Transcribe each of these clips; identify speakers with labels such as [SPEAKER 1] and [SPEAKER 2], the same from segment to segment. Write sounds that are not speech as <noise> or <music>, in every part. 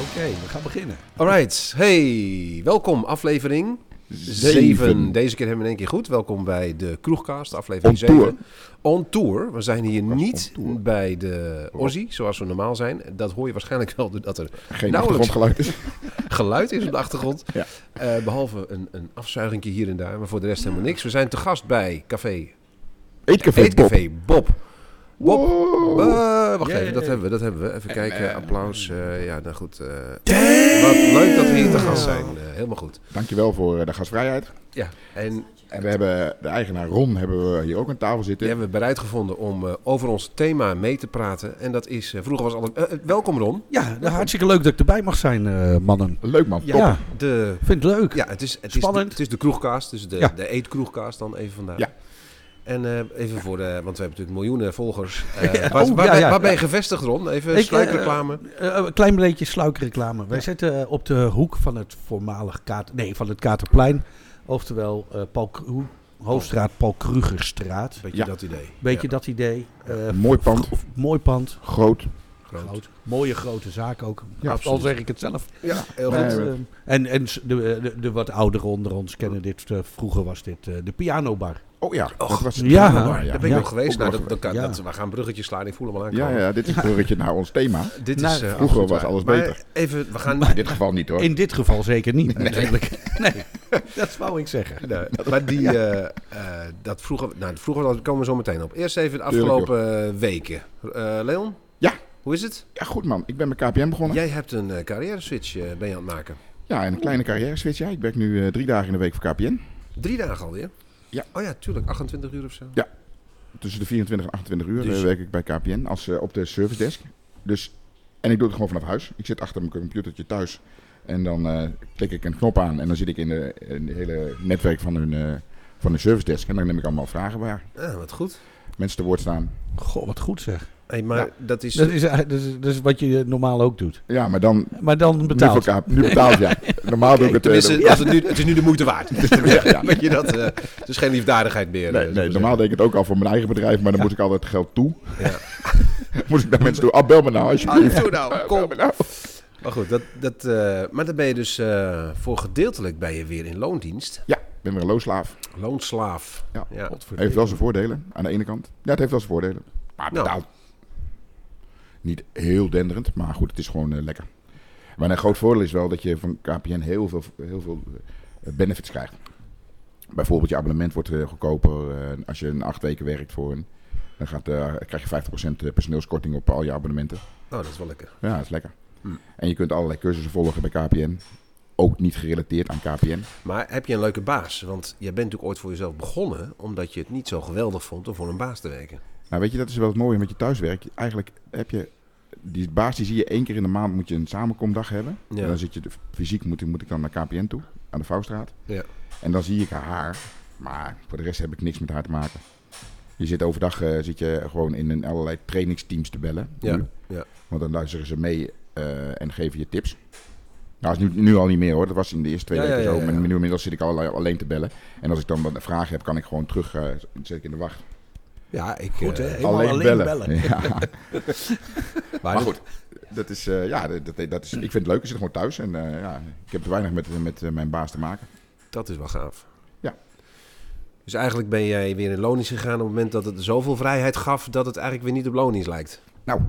[SPEAKER 1] Oké, we gaan beginnen.
[SPEAKER 2] Alright, hey, welkom aflevering 7. Deze keer hebben we in één keer goed. Welkom bij de Kroegcast, aflevering
[SPEAKER 1] On tour.
[SPEAKER 2] 7. On tour. We zijn hier niet
[SPEAKER 1] on tour.
[SPEAKER 2] bij de Aussie, zoals we normaal zijn. Dat hoor je waarschijnlijk wel doordat er
[SPEAKER 1] Geen
[SPEAKER 2] Nauwelijks.
[SPEAKER 1] achtergrondgeluid <laughs> is.
[SPEAKER 2] geluid is op de achtergrond.
[SPEAKER 1] Ja.
[SPEAKER 2] Eh, behalve een, een afzuigingje hier en daar, maar voor de rest helemaal niks. We zijn te gast bij Café
[SPEAKER 1] Eetcafé Bob.
[SPEAKER 2] Eetcafé Bob. Bob.
[SPEAKER 1] Wow.
[SPEAKER 2] Eh, wacht
[SPEAKER 1] Yay.
[SPEAKER 2] even, dat hebben we, dat hebben we. Even kijken, applaus. eh, ja, nou goed. eh, wat leuk dat we hier te gast zijn. Eh, helemaal goed.
[SPEAKER 1] Dankjewel voor eh, de gastvrijheid.
[SPEAKER 2] Ja, en
[SPEAKER 1] En we hebben de eigenaar Ron hebben we hier ook aan tafel
[SPEAKER 2] die
[SPEAKER 1] zitten.
[SPEAKER 2] hebben we bereid gevonden om eh, over ons thema mee te praten. En dat is, eh, vroeger was al een... eh, eh, welkom Ron.
[SPEAKER 3] Ja, nou, hartstikke leuk dat ik erbij mag zijn, eh, mannen.
[SPEAKER 1] Leuk man, top.
[SPEAKER 3] Ja,
[SPEAKER 2] De,
[SPEAKER 3] vind ik leuk.
[SPEAKER 2] ja, het is, het is,
[SPEAKER 3] Spannend.
[SPEAKER 2] De, het is de kroegkaast, dus de,
[SPEAKER 3] Ja.
[SPEAKER 2] de eetkroegkaast dan even vandaag.
[SPEAKER 1] Ja.
[SPEAKER 2] En eh, even voor de, want we hebben natuurlijk
[SPEAKER 1] <laughs>
[SPEAKER 2] miljoenen volgers. Eh, waar,
[SPEAKER 3] Oh,
[SPEAKER 2] waar
[SPEAKER 3] ja,
[SPEAKER 2] ben-
[SPEAKER 3] ja.
[SPEAKER 2] waar ben je gevestigd Ron? Even
[SPEAKER 3] Ik,
[SPEAKER 2] sluikreclame.
[SPEAKER 3] Eh, een klein beetje sluikreclame. Wij zitten eh, op de hoek van het voormalig Kater, nee, van het Katerplein. Oftewel eh, Paul Kru- Hoofdstraat, Paul Krugerstraat.
[SPEAKER 2] Beetje
[SPEAKER 1] Ja.
[SPEAKER 2] dat idee.
[SPEAKER 3] Beetje
[SPEAKER 2] Ja,
[SPEAKER 3] dat idee. Eh,
[SPEAKER 1] Mooi pand,
[SPEAKER 3] f- mooi pand.
[SPEAKER 1] groot.
[SPEAKER 2] groot.
[SPEAKER 3] Groot. Mooie grote zaak ook.
[SPEAKER 1] Ja,
[SPEAKER 3] Al- al
[SPEAKER 1] absoluut.
[SPEAKER 3] zeg ik het zelf.
[SPEAKER 2] Ja, heel
[SPEAKER 1] Nee,
[SPEAKER 2] goed.
[SPEAKER 3] Want,
[SPEAKER 1] we-
[SPEAKER 3] ehm, en en s- de, de, de wat ouderen onder ons kennen dit. eh, vroeger was dit eh, de pianobar.
[SPEAKER 1] Oh ja, dat was het.
[SPEAKER 3] ja,
[SPEAKER 1] Piano Bar,
[SPEAKER 3] daar
[SPEAKER 2] Daar ben ik
[SPEAKER 3] Ja.
[SPEAKER 2] nog geweest. Nou,
[SPEAKER 1] nog
[SPEAKER 2] dat, dat kan,
[SPEAKER 3] Ja.
[SPEAKER 2] dat, we gaan bruggetjes slaan. Ik voel hem al
[SPEAKER 1] Ja,
[SPEAKER 2] aankomen.
[SPEAKER 1] ja, dit is een bruggetje naar ons thema.
[SPEAKER 2] Dit
[SPEAKER 3] Nou,
[SPEAKER 2] is, eh,
[SPEAKER 1] vroeger
[SPEAKER 2] absoluut
[SPEAKER 1] was
[SPEAKER 2] waar.
[SPEAKER 1] alles
[SPEAKER 2] Maar
[SPEAKER 1] beter.
[SPEAKER 2] Even, we
[SPEAKER 1] <laughs>
[SPEAKER 2] gaan...
[SPEAKER 1] In dit geval niet hoor.
[SPEAKER 3] In dit geval zeker
[SPEAKER 2] <laughs>
[SPEAKER 3] niet, natuurlijk. Nee, dat wou ik zeggen.
[SPEAKER 2] Nee, maar die, eh, eh, dat vroeger, nou, vroeger dat komen we zo meteen op. Eerst even de
[SPEAKER 1] Tuurlijk,
[SPEAKER 2] afgelopen eh, weken. Eh, Leon?
[SPEAKER 1] Ja.
[SPEAKER 2] Hoe is het?
[SPEAKER 1] Ja, goed man. Ik ben met KPM begonnen. Ja,
[SPEAKER 2] Jij hebt een eh, carrière switch ben je aan het maken.
[SPEAKER 1] en een kleine carrière switch. Ja. Ik werk nu eh, drie dagen in de week voor KPN.
[SPEAKER 2] Drie dagen alweer?
[SPEAKER 1] Ja.
[SPEAKER 2] Oh ja, tuurlijk. 28 uur of zo.
[SPEAKER 1] Tussen de 24 en 28 uur
[SPEAKER 2] Dus-
[SPEAKER 1] eh, werk ik bij KPN als, eh, op de service desk. Dus, en ik doe het gewoon vanaf huis. Ik zit achter mijn computertje thuis. En dan eh, klik ik een knop aan en dan zit ik in het hele netwerk van hun, eh, van hun service desk. En dan neem ik allemaal vragen waar
[SPEAKER 2] Ah, wat goed.
[SPEAKER 1] mensen te woord staan.
[SPEAKER 3] Goh, wat goed zeg.
[SPEAKER 2] Hey, maar dat is...
[SPEAKER 3] Dat is, dat, is, dat is wat je normaal ook doet.
[SPEAKER 1] Ja, maar dan
[SPEAKER 3] Maar dan
[SPEAKER 1] Nu,
[SPEAKER 3] betaald.
[SPEAKER 1] voor KPN nu betaald, ja. Normaal doe ik het... eh,
[SPEAKER 2] tenminste,
[SPEAKER 1] dan-
[SPEAKER 2] als het, nu, het is nu de moeite waard.
[SPEAKER 1] <laughs> ja, ja.
[SPEAKER 2] <laughs> Weet je dat? eh, het is geen liefdadigheid meer. eh,
[SPEAKER 1] Nee,
[SPEAKER 2] zullen
[SPEAKER 1] nee,
[SPEAKER 2] we
[SPEAKER 1] Dus normaal deed ik het ook al voor mijn eigen bedrijf, maar dan moest ik altijd geld toe.
[SPEAKER 2] Ja.
[SPEAKER 1] <laughs> moest ik naar mensen toe. Ah, bel me nou alsjeblieft.
[SPEAKER 2] zeggen. Ah, doe nou.
[SPEAKER 1] Bel
[SPEAKER 2] Kom.
[SPEAKER 1] me nou.
[SPEAKER 2] Maar goed, dat, dat, eh, maar dan ben je dus eh, voor gedeeltelijk ben je weer in loondienst.
[SPEAKER 1] Ja, ik ben weer een loonslaaf.
[SPEAKER 2] Loonslaaf.
[SPEAKER 1] Ja.
[SPEAKER 2] ja.
[SPEAKER 1] Heeft wel zijn voordelen aan de ene kant. Ja, het heeft wel zijn voordelen. Maar
[SPEAKER 2] Nou.
[SPEAKER 1] betaalt niet heel denderend, maar goed, het is gewoon eh, lekker. Maar een groot voordeel is wel dat je van KPN heel veel, heel veel eh, benefits krijgt. Bijvoorbeeld je abonnement wordt eh, goedkoper. eh, als je een acht weken werkt voor een, dan gaat, eh, krijg je 50% personeelskorting op al je abonnementen.
[SPEAKER 2] Nou, dat is wel lekker.
[SPEAKER 1] Ja, dat is lekker.
[SPEAKER 2] Hm.
[SPEAKER 1] En je kunt allerlei cursussen volgen bij KPN. Ook niet gerelateerd aan KPN.
[SPEAKER 2] Maar heb je een leuke baas? Want jij bent natuurlijk ooit voor jezelf begonnen omdat je het niet zo geweldig vond om voor een baas te werken.
[SPEAKER 1] Nou, weet je, dat is wel het mooie met je thuiswerk. Eigenlijk heb je... Die baas die zie je één keer in de maand moet je een samenkomdag hebben.
[SPEAKER 2] Ja.
[SPEAKER 1] En dan zit je... de- Fysiek moet, moet ik dan naar KPN toe. Aan de Vouwstraat.
[SPEAKER 2] Ja.
[SPEAKER 1] En dan zie ik haar. Maar voor de rest heb ik niks met haar te maken. Je zit overdag eh, zit je gewoon in een allerlei trainingsteams te bellen.
[SPEAKER 2] Ja,
[SPEAKER 1] Nu.
[SPEAKER 2] ja.
[SPEAKER 1] Want dan luisteren ze mee eh, en geven je tips. Nou, dat is nu, nu al niet meer hoor. Dat was in de eerste twee
[SPEAKER 2] Ja,
[SPEAKER 1] weken
[SPEAKER 2] ja, ja,
[SPEAKER 1] zo.
[SPEAKER 2] ja,
[SPEAKER 1] Maar
[SPEAKER 2] ja.
[SPEAKER 1] nu inmiddels zit ik allerlei, alleen te bellen. En als ik dan wat vragen heb, kan ik gewoon terug. eh zet ik in de wacht.
[SPEAKER 2] Ja, ik.
[SPEAKER 3] Goed,
[SPEAKER 2] eh,
[SPEAKER 3] hè? Helemaal alleen
[SPEAKER 1] <laughs>
[SPEAKER 3] bellen.
[SPEAKER 1] Ja.
[SPEAKER 2] maar
[SPEAKER 1] Maar goed, dat is, eh, ja, dat, dat- dat is, ik vind het leuk. Ik zit gewoon thuis en eh, ja, ik heb te weinig met, met eh, mijn baas te maken.
[SPEAKER 2] dat is wel gaaf.
[SPEAKER 1] Ja.
[SPEAKER 2] Dus eigenlijk ben jij weer in loondienst gegaan op het moment dat het zoveel vrijheid gaf dat het eigenlijk weer niet op loondienst lijkt.
[SPEAKER 1] Nou,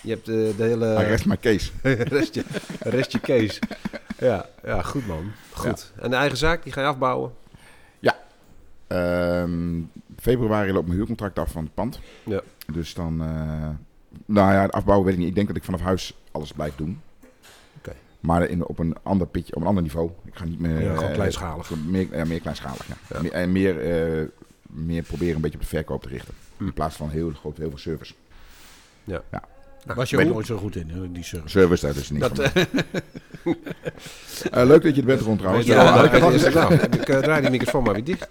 [SPEAKER 2] Je hebt eh, de hele.
[SPEAKER 1] hij rest maar Kees.
[SPEAKER 2] <laughs> restje, restje case. Ja, ja, goed man. Goed. En de eigen zaak, die ga je afbouwen.
[SPEAKER 1] Ehm, februari loopt mijn huurcontract af van het pand.
[SPEAKER 2] Ja.
[SPEAKER 1] Dus dan, eh, nou ja, afbouwen weet ik niet. Ik denk dat ik vanaf huis alles blijf doen.
[SPEAKER 2] Oké.
[SPEAKER 1] Maar in, op een ander pitje, op een ander niveau. Ik ga niet meer...
[SPEAKER 2] Ja, gewoon
[SPEAKER 1] eh,
[SPEAKER 2] kleinschalig.
[SPEAKER 1] Meer, ja, meer kleinschalig, ja.
[SPEAKER 2] Ja.
[SPEAKER 1] Meer- en meer, eh, meer proberen een beetje op de verkoop te richten.
[SPEAKER 2] Hm.
[SPEAKER 1] In plaats van heel, groot, heel veel service.
[SPEAKER 3] Was je
[SPEAKER 1] Ben-
[SPEAKER 3] ook nooit zo goed in, hè, die service.
[SPEAKER 1] Service, dat is niet
[SPEAKER 2] Dat,
[SPEAKER 1] van mij. <laughs> Eh, leuk dat je er bent, Ron, trouwens.
[SPEAKER 2] Ja,
[SPEAKER 1] Eh,
[SPEAKER 2] leuk.
[SPEAKER 1] dat was- <laughs>
[SPEAKER 2] dat is- nou, ik eh, draai die microfoon maar weer dicht.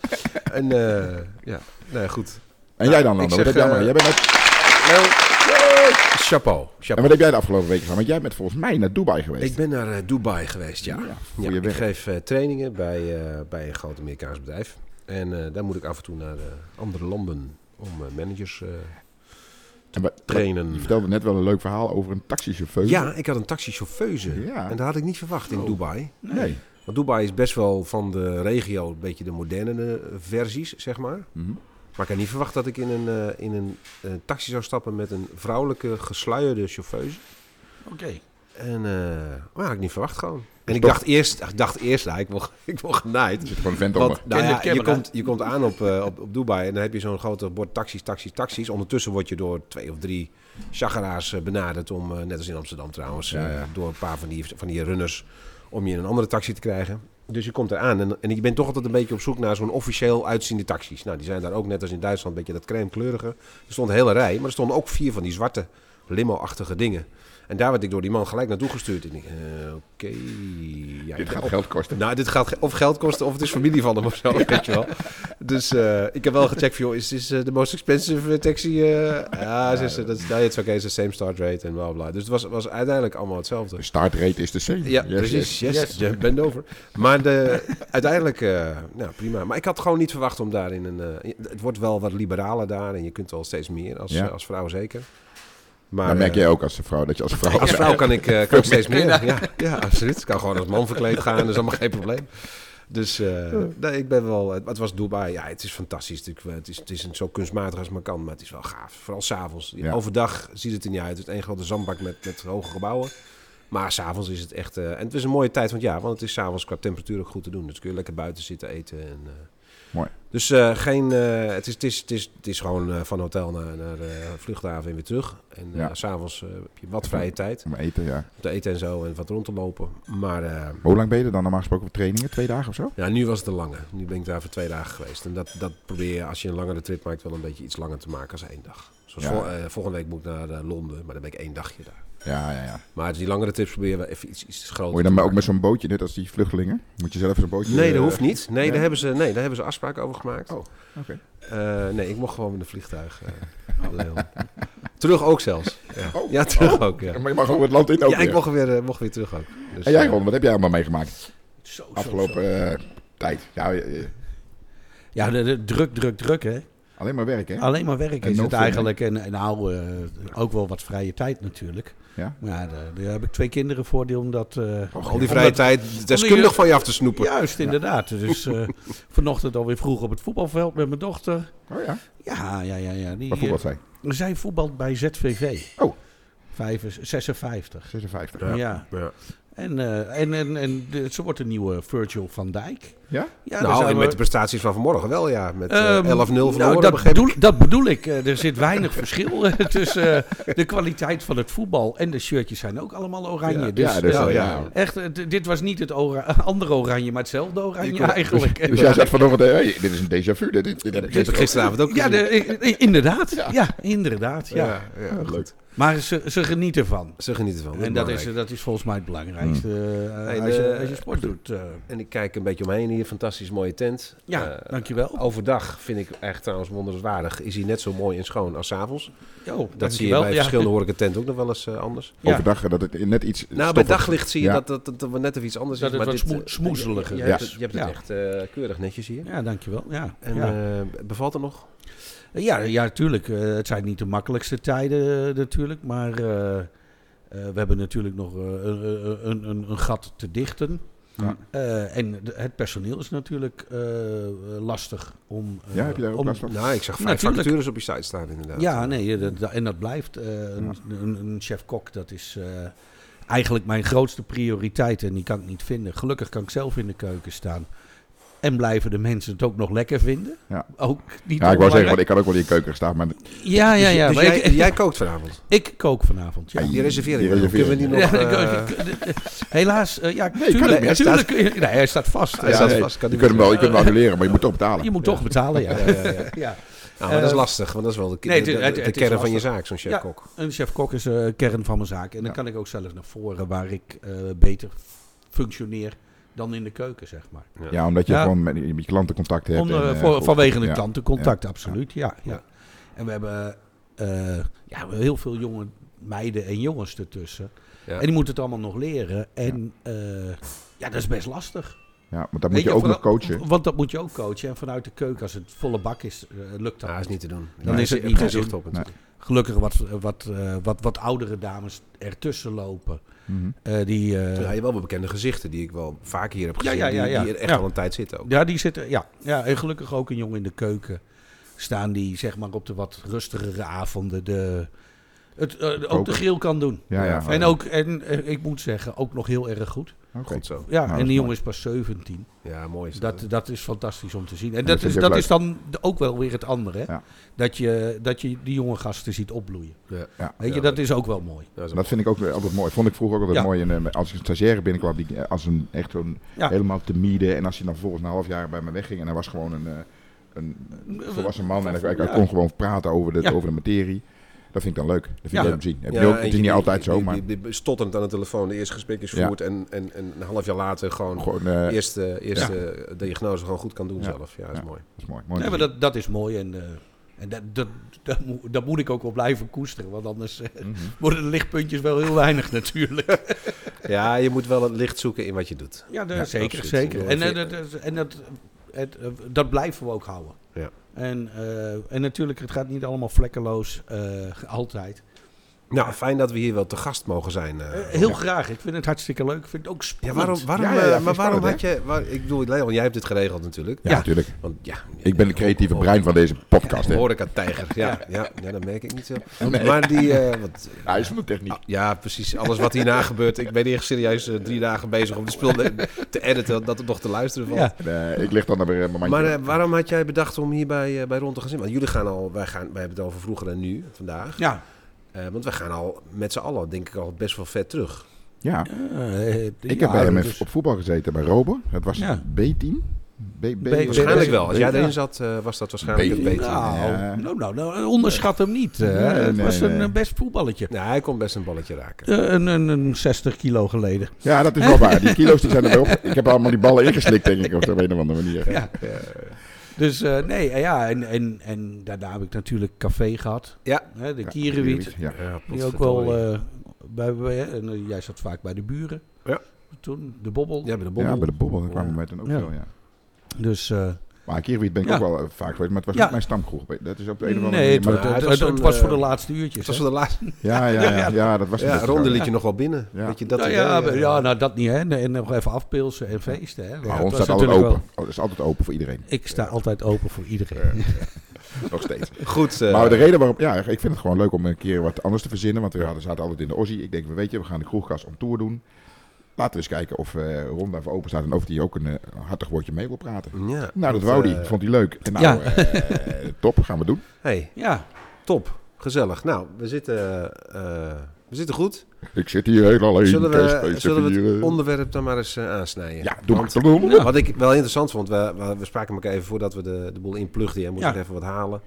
[SPEAKER 2] En eh, ja, nou ja, goed.
[SPEAKER 1] En jij dan,
[SPEAKER 2] Ik
[SPEAKER 1] Lando?
[SPEAKER 2] zeg,
[SPEAKER 1] Wat heb jij maar-
[SPEAKER 2] eh,
[SPEAKER 1] jij bent net-
[SPEAKER 2] Nou, chapeau.
[SPEAKER 1] En
[SPEAKER 2] chapeau.
[SPEAKER 1] wat heb jij de afgelopen week gedaan? Want jij bent volgens mij naar Dubai geweest.
[SPEAKER 2] Ik ben naar eh, Dubai geweest, ja.
[SPEAKER 1] voor
[SPEAKER 2] ja
[SPEAKER 1] je
[SPEAKER 2] ik
[SPEAKER 1] werk.
[SPEAKER 2] geef eh, trainingen bij, eh, bij een groot Amerikaans bedrijf. En eh, daar moet ik af en toe naar eh, andere landen om eh, managers eh,
[SPEAKER 1] En we-
[SPEAKER 2] trainen.
[SPEAKER 1] Je vertelde net wel een leuk verhaal over een taxichauffeur.
[SPEAKER 2] Ja, ik had een taxichauffeuse.
[SPEAKER 1] Ja. Oh.
[SPEAKER 2] En dat had ik niet verwacht in Dubai.
[SPEAKER 1] Nee.
[SPEAKER 2] Want Dubai is best wel van de regio een beetje de modernere versies, zeg maar.
[SPEAKER 1] Mhm.
[SPEAKER 2] Maar ik had niet verwacht dat ik in een, eh, in een eh, taxi zou stappen met een vrouwelijke gesluierde chauffeuse.
[SPEAKER 3] Oké.
[SPEAKER 2] En eh maar had ik niet verwacht gewoon. En
[SPEAKER 1] Dus
[SPEAKER 2] ik
[SPEAKER 1] toch-
[SPEAKER 2] dacht eerst, ik dacht eerst, nou, ik word, <laughs> ik word genaaid.
[SPEAKER 1] Er zit gewoon een vent onder.
[SPEAKER 2] Want nou
[SPEAKER 4] Ken de
[SPEAKER 2] ja, je,
[SPEAKER 4] camera.
[SPEAKER 2] komt, je komt aan op, eh, op, op Dubai en dan heb je zo'n grote bord taxis, taxis, taxis. Ondertussen word je door twee of drie chageraars eh, benaderd om, eh, net als in Amsterdam trouwens,
[SPEAKER 1] Ja,
[SPEAKER 2] eh,
[SPEAKER 1] ja.
[SPEAKER 2] door een paar van die, van die runners, om je in een andere taxi te krijgen. Dus je komt eraan en, en je bent toch altijd een beetje op zoek naar zo'n officieel uitziende taxis. Nou, die zijn daar ook net als in Duitsland een beetje dat crème kleurige. Er stond een hele rij, maar er stonden ook vier van die zwarte limo-achtige dingen. En daar werd ik door die man gelijk naartoe gestuurd. En ik, eh, oké. ja,
[SPEAKER 1] Dit
[SPEAKER 2] ik ga
[SPEAKER 1] gaat
[SPEAKER 2] op-
[SPEAKER 1] geld kosten.
[SPEAKER 2] nou, dit gaat ge- of geld kosten of het is familie van hem of zo, <laughs> weet je wel. Dus eh, ik heb wel gecheckt van, joh, is dit eh, de most expensive eh, taxi? eh ja, ze ze- dat is nou, nee, het is oké, het is de same start rate en bla bla. Dus het was, was uiteindelijk allemaal hetzelfde.
[SPEAKER 1] De startrate is de same.
[SPEAKER 2] Ja,
[SPEAKER 1] Yes, yes.
[SPEAKER 2] precies. Yes, je bent over. Maar de, uiteindelijk, eh, nou prima. Maar ik had gewoon niet verwacht om daarin een... eh, het wordt wel wat liberaler daar en je kunt al steeds meer als,
[SPEAKER 1] Ja.
[SPEAKER 2] eh, als vrouw zeker. Maar,
[SPEAKER 1] Dan merk
[SPEAKER 2] eh,
[SPEAKER 1] jij ook als vrouw dat je
[SPEAKER 2] <laughs>
[SPEAKER 1] als vrouw...
[SPEAKER 2] als vrouw kan ik, eh, kan ik steeds meer. Ja, ja, absoluut. Ik kan gewoon als man verkleed gaan, dat is allemaal geen probleem. Dus eh, nee, ik ben wel. Het was Dubai. Ja, het is fantastisch. natuurlijk. Het is, het is zo kunstmatig als maar kan, maar het is wel gaaf. Vooral s'avonds.
[SPEAKER 1] Ja.
[SPEAKER 2] Overdag ziet het er niet uit. Het is één grote zandbak met, met hoge gebouwen. Maar s'avonds is het echt. eh, en het is een mooie tijd van het jaar, want het is s'avonds qua temperatuur ook goed te doen. Dus kun je lekker buiten zitten eten. En, eh.
[SPEAKER 1] Mooi.
[SPEAKER 2] Dus eh, geen, eh, het, is, het, is, het, is, het is gewoon eh, van hotel naar, naar eh, vluchthaven en weer terug. En eh,
[SPEAKER 1] Ja.
[SPEAKER 2] s'avonds eh, heb je wat vrije tijd
[SPEAKER 1] Om eten, ja.
[SPEAKER 2] te eten en zo en wat rond te lopen. Maar eh,
[SPEAKER 1] Maar Hoe lang ben je er dan normaal gesproken op trainingen? Twee dagen of zo?
[SPEAKER 2] ja, nu was het een lange. Nu ben ik daar voor twee dagen geweest. En dat, dat probeer je als je een langere trip maakt wel een beetje iets langer te maken als één dag. Zoals
[SPEAKER 1] Ja.
[SPEAKER 2] vol- eh, volgende week moet ik naar eh, Londen, maar dan ben ik één dagje daar.
[SPEAKER 1] Ja, ja, ja.
[SPEAKER 2] Maar die langere trips probeer je wel even iets, iets groter
[SPEAKER 1] Moet je dan
[SPEAKER 2] te
[SPEAKER 1] maar ook met
[SPEAKER 2] maken.
[SPEAKER 1] zo'n bootje, net als die vluchtelingen? Moet je zelf zo'n bootje...
[SPEAKER 2] Nee,
[SPEAKER 1] eh,
[SPEAKER 2] dat hoeft niet. Nee,
[SPEAKER 1] nee?
[SPEAKER 2] daar hebben ze, nee, daar hebben ze afspraken over gemaakt.
[SPEAKER 1] Oh, oké.
[SPEAKER 2] Eh, nee, ik mocht gewoon met een vliegtuig. eh, <laughs> Leon. terug ook zelfs. Ja,
[SPEAKER 1] Oh.
[SPEAKER 2] Ja, terug ook. Ja,
[SPEAKER 1] <laughs> Maar je mag ook het land in ook
[SPEAKER 2] ja ik
[SPEAKER 1] weer.
[SPEAKER 2] mocht weer, eh, mocht weer terug ook. Dus,
[SPEAKER 1] En jij,
[SPEAKER 2] eh,
[SPEAKER 1] Ron, wat heb jij allemaal meegemaakt
[SPEAKER 3] Zo, zo,
[SPEAKER 1] afgelopen
[SPEAKER 3] zo.
[SPEAKER 1] eh, tijd? Ja, eh, eh,
[SPEAKER 3] Ja, de, de- druk, druk, druk hè.
[SPEAKER 1] alleen maar werk, hè?
[SPEAKER 3] Alleen maar werk
[SPEAKER 1] En
[SPEAKER 3] is
[SPEAKER 1] no
[SPEAKER 3] het
[SPEAKER 1] fun, hè?
[SPEAKER 3] eigenlijk. En, en nou, eh, ook wel wat vrije tijd natuurlijk.
[SPEAKER 1] Ja? Oh,
[SPEAKER 3] Maar ja, daar, daar heb ik twee kinderen voor die omdat... eh,
[SPEAKER 2] al die vrije tijd deskundig van je af te snoepen.
[SPEAKER 3] Juist,
[SPEAKER 1] <laughs>
[SPEAKER 3] inderdaad. Dus eh, vanochtend alweer vroeg op het voetbalveld met mijn dochter.
[SPEAKER 1] Oh ja,
[SPEAKER 3] Ja, ja, ja. ja die,
[SPEAKER 1] waar voetbal zijn?
[SPEAKER 3] eh, zij voetbalt bij ZVV.
[SPEAKER 1] Oh.
[SPEAKER 3] Vijf- 56.
[SPEAKER 1] 56.
[SPEAKER 3] Ja.
[SPEAKER 2] Ja.
[SPEAKER 3] Ja. En, eh, en, en, en de- ze wordt een nieuwe Virgil van Dijk.
[SPEAKER 1] Ja?
[SPEAKER 3] Ja, daar
[SPEAKER 2] nou,
[SPEAKER 3] zijn
[SPEAKER 2] en
[SPEAKER 3] we-
[SPEAKER 2] met de prestaties van vanmorgen wel, ja. Met eh,
[SPEAKER 3] Ehm,
[SPEAKER 2] 11-0 verloren,
[SPEAKER 3] nou, dat,
[SPEAKER 2] begreep ik.
[SPEAKER 3] bedoel, dat bedoel ik. Eh, Er zit weinig verschil eh, <laughs> tussen eh, de kwaliteit van het voetbal en de shirtjes zijn ook allemaal oranje.
[SPEAKER 2] Ja,
[SPEAKER 3] dus,
[SPEAKER 1] ja, dus,
[SPEAKER 3] eh,
[SPEAKER 1] eh,
[SPEAKER 2] ja.
[SPEAKER 1] ja.
[SPEAKER 3] Echt, eh, d- dit was niet het ora- <laughs> andere oranje, maar hetzelfde oranje
[SPEAKER 2] eh,
[SPEAKER 3] eigenlijk.
[SPEAKER 1] Dus jij zat vanochtend, eh, hey, dit is een déjà vu. Dit, dit, dit heb ik
[SPEAKER 2] Ik heb het
[SPEAKER 1] gisteren
[SPEAKER 2] gisteravond ook
[SPEAKER 3] Ja,
[SPEAKER 2] gezien.
[SPEAKER 3] de, i- i- inderdaad. Ja, inderdaad. Ja.
[SPEAKER 2] ja, ja,
[SPEAKER 1] ook. Leuk.
[SPEAKER 3] Maar ze, ze genieten ervan.
[SPEAKER 2] Ze genieten ervan.
[SPEAKER 3] En dat is,
[SPEAKER 2] belangrijk. Hmm.
[SPEAKER 3] dat is volgens mij het belangrijkste eh,
[SPEAKER 2] Hey,
[SPEAKER 3] als, je,
[SPEAKER 2] de-
[SPEAKER 3] als je sport doet. eh.
[SPEAKER 2] En ik kijk een beetje omheen hier. Fantastisch mooie tent.
[SPEAKER 3] ja,
[SPEAKER 2] Eh,
[SPEAKER 3] dankjewel.
[SPEAKER 2] Overdag vind ik echt trouwens wonderenswaardig. Is hij net zo mooi en schoon als 's avonds.
[SPEAKER 3] Jo,
[SPEAKER 2] Dat zie je
[SPEAKER 3] dankjewel.
[SPEAKER 2] bij
[SPEAKER 3] Ja.
[SPEAKER 2] verschillende horeca tent ook nog wel eens eh, anders.
[SPEAKER 3] Ja.
[SPEAKER 1] Overdag, eh, dat het net iets...
[SPEAKER 2] Nou, bij
[SPEAKER 1] stoffig-
[SPEAKER 2] daglicht zie je
[SPEAKER 1] Ja.
[SPEAKER 2] dat, dat, dat, dat we net even iets anders
[SPEAKER 3] Dat
[SPEAKER 2] is.
[SPEAKER 3] het
[SPEAKER 2] maar
[SPEAKER 3] wat
[SPEAKER 2] dit,
[SPEAKER 3] smoe-
[SPEAKER 2] eh,
[SPEAKER 3] smoezeliger
[SPEAKER 1] is.
[SPEAKER 2] je- Je, hebt het- je hebt het
[SPEAKER 3] Ja.
[SPEAKER 2] echt eh, keurig netjes hier.
[SPEAKER 3] Ja, dankjewel. Ja,
[SPEAKER 2] En
[SPEAKER 3] ja.
[SPEAKER 2] eh, bevalt het nog?
[SPEAKER 3] Ja, ja, tuurlijk. Eh, het zijn niet de makkelijkste tijden eh, natuurlijk. Maar eh, eh, we hebben natuurlijk nog eh, een, een, een, een gat te dichten.
[SPEAKER 1] Ja.
[SPEAKER 3] Eh, en de- het personeel is natuurlijk eh, lastig om... eh,
[SPEAKER 1] Ja, heb je daar ook
[SPEAKER 3] om-
[SPEAKER 1] last van?
[SPEAKER 2] Nou, ik zag vijf
[SPEAKER 3] Natuurlijk.
[SPEAKER 2] vacatures op je site staan inderdaad.
[SPEAKER 3] Ja, nee, eh, dat- dat- en dat blijft. eh, een, een, een chef-kok, dat is eh, eigenlijk mijn grootste prioriteit. En die kan ik niet vinden. Gelukkig kan ik zelf in de keuken staan. En blijven de mensen het ook nog lekker vinden.
[SPEAKER 1] Ja.
[SPEAKER 3] Ook niet
[SPEAKER 1] Ja, ik wou zeggen,
[SPEAKER 3] onbelangrijk.
[SPEAKER 1] want ik kan ook wel in je keuken staan, maar
[SPEAKER 3] Ah, Ja, ja, ja.
[SPEAKER 2] Dus
[SPEAKER 3] maar
[SPEAKER 2] jij,
[SPEAKER 3] ik, <laughs>
[SPEAKER 2] jij kookt vanavond.
[SPEAKER 3] ik kook vanavond, ja.
[SPEAKER 2] Die reserveren
[SPEAKER 1] Die
[SPEAKER 2] we. Ah, Kunnen we
[SPEAKER 1] reserveren we.
[SPEAKER 2] die nog...
[SPEAKER 3] <laughs> Ja,
[SPEAKER 2] eh,
[SPEAKER 3] ik- ik- eh, helaas, eh, ja,
[SPEAKER 1] kan
[SPEAKER 3] tuurlijk,
[SPEAKER 1] niet meer.
[SPEAKER 3] tuurlijk kun je- nee, hij staat vast.
[SPEAKER 2] Hij
[SPEAKER 3] Ja,
[SPEAKER 2] staat
[SPEAKER 3] nee.
[SPEAKER 2] vast, kan
[SPEAKER 1] je
[SPEAKER 2] die
[SPEAKER 1] kunt hem wel, je
[SPEAKER 2] weer-
[SPEAKER 1] kunt hem annuleren, maar je moet toch betalen.
[SPEAKER 3] Je moet toch betalen, ja.
[SPEAKER 2] <laughs> Ja, ja, ja.
[SPEAKER 3] ja.
[SPEAKER 2] Nou, maar dat is lastig, want dat is wel de,
[SPEAKER 3] Nee,
[SPEAKER 2] de,
[SPEAKER 3] het-
[SPEAKER 2] de-
[SPEAKER 3] het-
[SPEAKER 2] de
[SPEAKER 3] het is
[SPEAKER 2] kern van je
[SPEAKER 3] lastig.
[SPEAKER 2] zaak, zo'n
[SPEAKER 3] Ja.
[SPEAKER 2] chef-kok.
[SPEAKER 3] Een chef-kok is eh, kern van mijn zaak. En dan
[SPEAKER 1] Ja.
[SPEAKER 3] kan ik ook zelf naar voren waar ik eh, beter functioneer dan in de keuken, zeg maar.
[SPEAKER 1] Ja, omdat je
[SPEAKER 3] Ja.
[SPEAKER 1] gewoon met, met je klanten contact hebt.
[SPEAKER 3] Om,
[SPEAKER 1] en,
[SPEAKER 3] eh,
[SPEAKER 1] eh,
[SPEAKER 3] voor,
[SPEAKER 1] goed.
[SPEAKER 3] vanwege de
[SPEAKER 1] Ja.
[SPEAKER 3] klantencontact, absoluut. Ja, ja.
[SPEAKER 2] Ja.
[SPEAKER 3] En we hebben eh, ja, we heel veel jonge meiden en jongens ertussen.
[SPEAKER 2] Ja.
[SPEAKER 3] En die moeten het allemaal nog leren. En eh, ja, dat is best lastig.
[SPEAKER 1] Ja, want dat
[SPEAKER 3] Weet
[SPEAKER 1] moet je
[SPEAKER 3] je,
[SPEAKER 1] ook nog
[SPEAKER 3] vooral-
[SPEAKER 1] coachen.
[SPEAKER 3] Want dat moet je ook coachen. En vanuit de keuken, als het volle bak is, eh, lukt dat
[SPEAKER 2] Ja, Nou, is
[SPEAKER 3] niet.
[SPEAKER 2] niet te doen.
[SPEAKER 3] Dan
[SPEAKER 2] Nee,
[SPEAKER 3] is het
[SPEAKER 2] je
[SPEAKER 3] niet
[SPEAKER 2] hebt
[SPEAKER 3] te
[SPEAKER 2] geen zicht
[SPEAKER 3] doen.
[SPEAKER 2] op natuurlijk.
[SPEAKER 3] Gelukkig wat, wat, eh, wat, wat oudere dames ertussen lopen.
[SPEAKER 1] Mhm.
[SPEAKER 3] Eh, die, eh,
[SPEAKER 2] Ja, je hebt wel wel bekende gezichten die ik wel vaak hier heb
[SPEAKER 3] Ja,
[SPEAKER 2] gezien.
[SPEAKER 3] ja, ja,
[SPEAKER 2] die-
[SPEAKER 3] ja.
[SPEAKER 2] Die er echt
[SPEAKER 3] Ja.
[SPEAKER 2] al een tijd zitten ook.
[SPEAKER 3] Ja, die zitten. Ja. ja, en gelukkig ook een jongen in de keuken. Staan die zeg maar op de wat rustigere avonden de, het, eh, ook de
[SPEAKER 1] Koken.
[SPEAKER 3] grill kan doen.
[SPEAKER 1] Ja, ja.
[SPEAKER 3] En, ook, en eh, ik moet zeggen, ook nog heel erg goed.
[SPEAKER 1] Oké.
[SPEAKER 2] Goed zo.
[SPEAKER 3] Ja,
[SPEAKER 1] Nou, dat
[SPEAKER 3] en
[SPEAKER 1] is
[SPEAKER 3] die jongen is pas 17.
[SPEAKER 2] Ja, mooi is dat.
[SPEAKER 3] Dat, dat is fantastisch om te zien. En,
[SPEAKER 1] dat
[SPEAKER 3] dat,
[SPEAKER 1] vind ik
[SPEAKER 3] is,
[SPEAKER 1] ook
[SPEAKER 3] dat
[SPEAKER 1] leuk.
[SPEAKER 3] is dan de- ook wel weer het andere. Hè?
[SPEAKER 1] Ja.
[SPEAKER 3] Dat, je, dat je die jonge gasten ziet opbloeien.
[SPEAKER 2] Ja.
[SPEAKER 1] Ja.
[SPEAKER 3] Weet je,
[SPEAKER 2] Ja,
[SPEAKER 3] dat is ook wel mooi.
[SPEAKER 2] Ja, is
[SPEAKER 1] Dat vind ik ook eh, altijd mooi. Vond ik vroeger ook altijd
[SPEAKER 3] Ja.
[SPEAKER 1] mooi. En, eh, als ik stagiaire binnenkwam, die, eh, als een, echt zo'n
[SPEAKER 3] Ja.
[SPEAKER 1] helemaal te mieden. En als je dan volgens na een half jaar bij me wegging en hij was gewoon een, eh, een volwassen man. En hij, hij
[SPEAKER 3] Eh, Ja.
[SPEAKER 1] kon gewoon praten over de,
[SPEAKER 3] Ja.
[SPEAKER 1] over de materie. Dat vind ik dan leuk. Dat vind ik
[SPEAKER 3] Ja.
[SPEAKER 1] leuk om te zien. Heb je
[SPEAKER 2] Ja,
[SPEAKER 1] ook- het is
[SPEAKER 2] eentje
[SPEAKER 1] niet
[SPEAKER 2] die-
[SPEAKER 1] altijd zo,
[SPEAKER 2] die-
[SPEAKER 1] maar
[SPEAKER 2] Die, die, stotterend aan de telefoon, de eerste gesprek is
[SPEAKER 1] Ja.
[SPEAKER 2] voert en, en, en een half jaar later gewoon,
[SPEAKER 1] gewoon, eh,
[SPEAKER 2] eerste, eerste eh, diagnose gewoon goed kan doen
[SPEAKER 1] Ja.
[SPEAKER 2] zelf. Ja, dat is
[SPEAKER 1] Ja.
[SPEAKER 2] mooi.
[SPEAKER 1] dat is mooi. mooi om
[SPEAKER 3] Nee,
[SPEAKER 1] te
[SPEAKER 3] maar dat, dat is mooi. En, eh, en dat, dat, dat, moet, dat moet ik ook wel blijven koesteren. Want anders eh,
[SPEAKER 1] zien. Mhm.
[SPEAKER 3] worden de lichtpuntjes wel heel weinig <laughs> natuurlijk.
[SPEAKER 2] Ja, je moet wel het licht zoeken in wat je doet.
[SPEAKER 3] Ja,
[SPEAKER 2] Ja,
[SPEAKER 3] zeker.
[SPEAKER 2] absoluut.
[SPEAKER 3] zeker. En, eh,
[SPEAKER 2] Ja.
[SPEAKER 3] dat, is- en dat, het, eh, dat blijven we ook houden.
[SPEAKER 2] Ja.
[SPEAKER 3] En, eh, en natuurlijk, het gaat niet allemaal vlekkeloos eh, altijd.
[SPEAKER 2] Nou, fijn dat we hier wel te gast mogen zijn. eh.
[SPEAKER 3] Eh, heel graag. Ik vind het hartstikke leuk. Ik vind het ook
[SPEAKER 2] ja,
[SPEAKER 3] spannend.
[SPEAKER 2] waarom, waarom,
[SPEAKER 1] Ja, ja, ja,
[SPEAKER 2] eh,
[SPEAKER 1] vind ik
[SPEAKER 2] maar waarom had
[SPEAKER 1] spannend,
[SPEAKER 2] je... Waar, ik bedoel, Leon, jij hebt dit geregeld natuurlijk.
[SPEAKER 1] Ja,
[SPEAKER 3] Ja.
[SPEAKER 1] natuurlijk.
[SPEAKER 2] Want, ja,
[SPEAKER 1] Ik ben de creatieve brein van deze podcast. hè.
[SPEAKER 2] Horeca-tijger,
[SPEAKER 1] <laughs>
[SPEAKER 2] ja, ja. ja, dat merk ik niet zo.
[SPEAKER 1] Nee.
[SPEAKER 2] Maar die... eh, wat,
[SPEAKER 1] Hij is van de techniek.
[SPEAKER 2] Ja, precies. Alles wat hierna gebeurt. Ik ben echt serieus eh, drie dagen bezig om de spul te editen, dat het nog te luisteren valt.
[SPEAKER 3] Ja.
[SPEAKER 1] Nee, eh, ik lig dan naar weer mijn
[SPEAKER 2] Maar
[SPEAKER 1] mandje.
[SPEAKER 2] eh, waarom had jij bedacht om hier bij, eh, bij Rond te gaan zitten? Want jullie gaan al, wij, gaan, wij hebben het over vroeger en nu, vandaag.
[SPEAKER 3] Ja.
[SPEAKER 2] Eh, want wij gaan al met z'n allen, denk ik, al best wel vet terug.
[SPEAKER 1] ja.
[SPEAKER 3] Eh, eh,
[SPEAKER 1] Ik
[SPEAKER 3] ja,
[SPEAKER 1] heb bij hem
[SPEAKER 3] dat
[SPEAKER 1] even
[SPEAKER 2] dus.
[SPEAKER 3] is-
[SPEAKER 1] op voetbal gezeten bij Robo. Dat was
[SPEAKER 3] Ja.
[SPEAKER 1] B10. B, B,
[SPEAKER 2] Waarschijnlijk wel. Als jij
[SPEAKER 1] B-
[SPEAKER 2] erin zat, eh, was dat waarschijnlijk het
[SPEAKER 1] Beetje.
[SPEAKER 2] beter. Ja.
[SPEAKER 3] Nou,
[SPEAKER 1] Ja.
[SPEAKER 3] nou, nou, nou, onderschat hem niet. eh.
[SPEAKER 1] Nee,
[SPEAKER 3] het
[SPEAKER 1] nee,
[SPEAKER 3] was een
[SPEAKER 1] nee.
[SPEAKER 3] eh, best voetballetje.
[SPEAKER 2] hij kon best een balletje raken.
[SPEAKER 3] Eh, een, een, een 60 kilo geleden.
[SPEAKER 1] Ja, dat is wel waar. Die kilo's die zijn er wel. op. Ik heb allemaal die ballen ingeslikt, denk ik, op de een of andere manier.
[SPEAKER 3] Ja. Dus eh, nee, eh, ja, en, en, en daarna heb ik natuurlijk café gehad.
[SPEAKER 2] Ja.
[SPEAKER 3] Hè, de
[SPEAKER 1] Ja,
[SPEAKER 3] Kierenwiet.
[SPEAKER 1] Ja.
[SPEAKER 3] Die ook wel, eh, bij, bij- en, eh, jij zat vaak bij de buren.
[SPEAKER 2] Ja.
[SPEAKER 3] Toen, de bobbel.
[SPEAKER 2] Ja, bij de
[SPEAKER 1] ja,
[SPEAKER 2] bommel.
[SPEAKER 1] bij de bobbel daar kwamen
[SPEAKER 2] Ja.
[SPEAKER 1] we met een ook
[SPEAKER 3] Ja.
[SPEAKER 1] veel, ja.
[SPEAKER 3] Dus eh,
[SPEAKER 1] Maar Kierwiet ben ik
[SPEAKER 3] Ja.
[SPEAKER 1] ook wel eh, vaak geweest, maar het was
[SPEAKER 3] Ja.
[SPEAKER 1] niet mijn stamgroep. Dat is op de een of andere
[SPEAKER 3] nee, het,
[SPEAKER 1] manier.
[SPEAKER 3] was-
[SPEAKER 1] maar-
[SPEAKER 2] Ja, dat was
[SPEAKER 3] het, het- het
[SPEAKER 2] een,
[SPEAKER 3] was voor
[SPEAKER 2] eh,
[SPEAKER 3] de laatste
[SPEAKER 2] Dat
[SPEAKER 3] uurtjes.
[SPEAKER 2] was
[SPEAKER 3] hè?
[SPEAKER 2] wel de laatste.
[SPEAKER 1] ja, ja, ja, ja, dat was een
[SPEAKER 2] Ja,
[SPEAKER 1] beetje
[SPEAKER 2] Ronde
[SPEAKER 1] zo,
[SPEAKER 2] liet je nog wel binnen.
[SPEAKER 1] Ja.
[SPEAKER 2] Dat je dat
[SPEAKER 3] nou,
[SPEAKER 2] idee,
[SPEAKER 3] ja,
[SPEAKER 2] eh,
[SPEAKER 3] ja, nou dat niet hè. En, en nog even afpilsen en feesten. Hè.
[SPEAKER 1] ja.
[SPEAKER 3] Ja,
[SPEAKER 1] Maar
[SPEAKER 3] het
[SPEAKER 1] ons
[SPEAKER 3] was
[SPEAKER 1] staat altijd
[SPEAKER 3] natuurlijk wel-
[SPEAKER 1] open. Het is altijd open voor
[SPEAKER 3] <laughs>
[SPEAKER 1] iedereen.
[SPEAKER 3] Ik sta altijd open voor iedereen.
[SPEAKER 1] Nog steeds.
[SPEAKER 2] Goed. eh,
[SPEAKER 1] Maar de reden waarom, ja, ik vind het gewoon leuk om een keer wat anders te verzinnen. Want we hadden, zaten altijd in de Ossie. Ik denk, weet je, we gaan de kroegkast om tour doen. Laten we eens kijken of eh Ron daarvoor open staat en of die ook een eh, hartig woordje mee wil praten.
[SPEAKER 2] ja,
[SPEAKER 1] Nou, dat
[SPEAKER 2] want,
[SPEAKER 1] wou die.
[SPEAKER 2] eh,
[SPEAKER 1] Vond hij leuk. En nou,
[SPEAKER 3] ja.
[SPEAKER 1] eh, top, gaan we doen.
[SPEAKER 2] hey,
[SPEAKER 3] Ja,
[SPEAKER 2] top. Gezellig. Nou, we zitten, eh, we zitten goed.
[SPEAKER 1] Ik zit hier heel alleen.
[SPEAKER 2] Zullen we,
[SPEAKER 1] kerstfeest te
[SPEAKER 2] zullen we het
[SPEAKER 1] vieren.
[SPEAKER 2] onderwerp dan maar eens eh, aansnijden?
[SPEAKER 1] eh. Ja, doe
[SPEAKER 2] Want
[SPEAKER 1] maar. Doe maar.
[SPEAKER 3] Ja.
[SPEAKER 2] Wat ik wel interessant vond, we, we- we spraken elkaar even voordat we de, de boel inplugden. Jij moest
[SPEAKER 3] Ja.
[SPEAKER 2] nog even wat halen.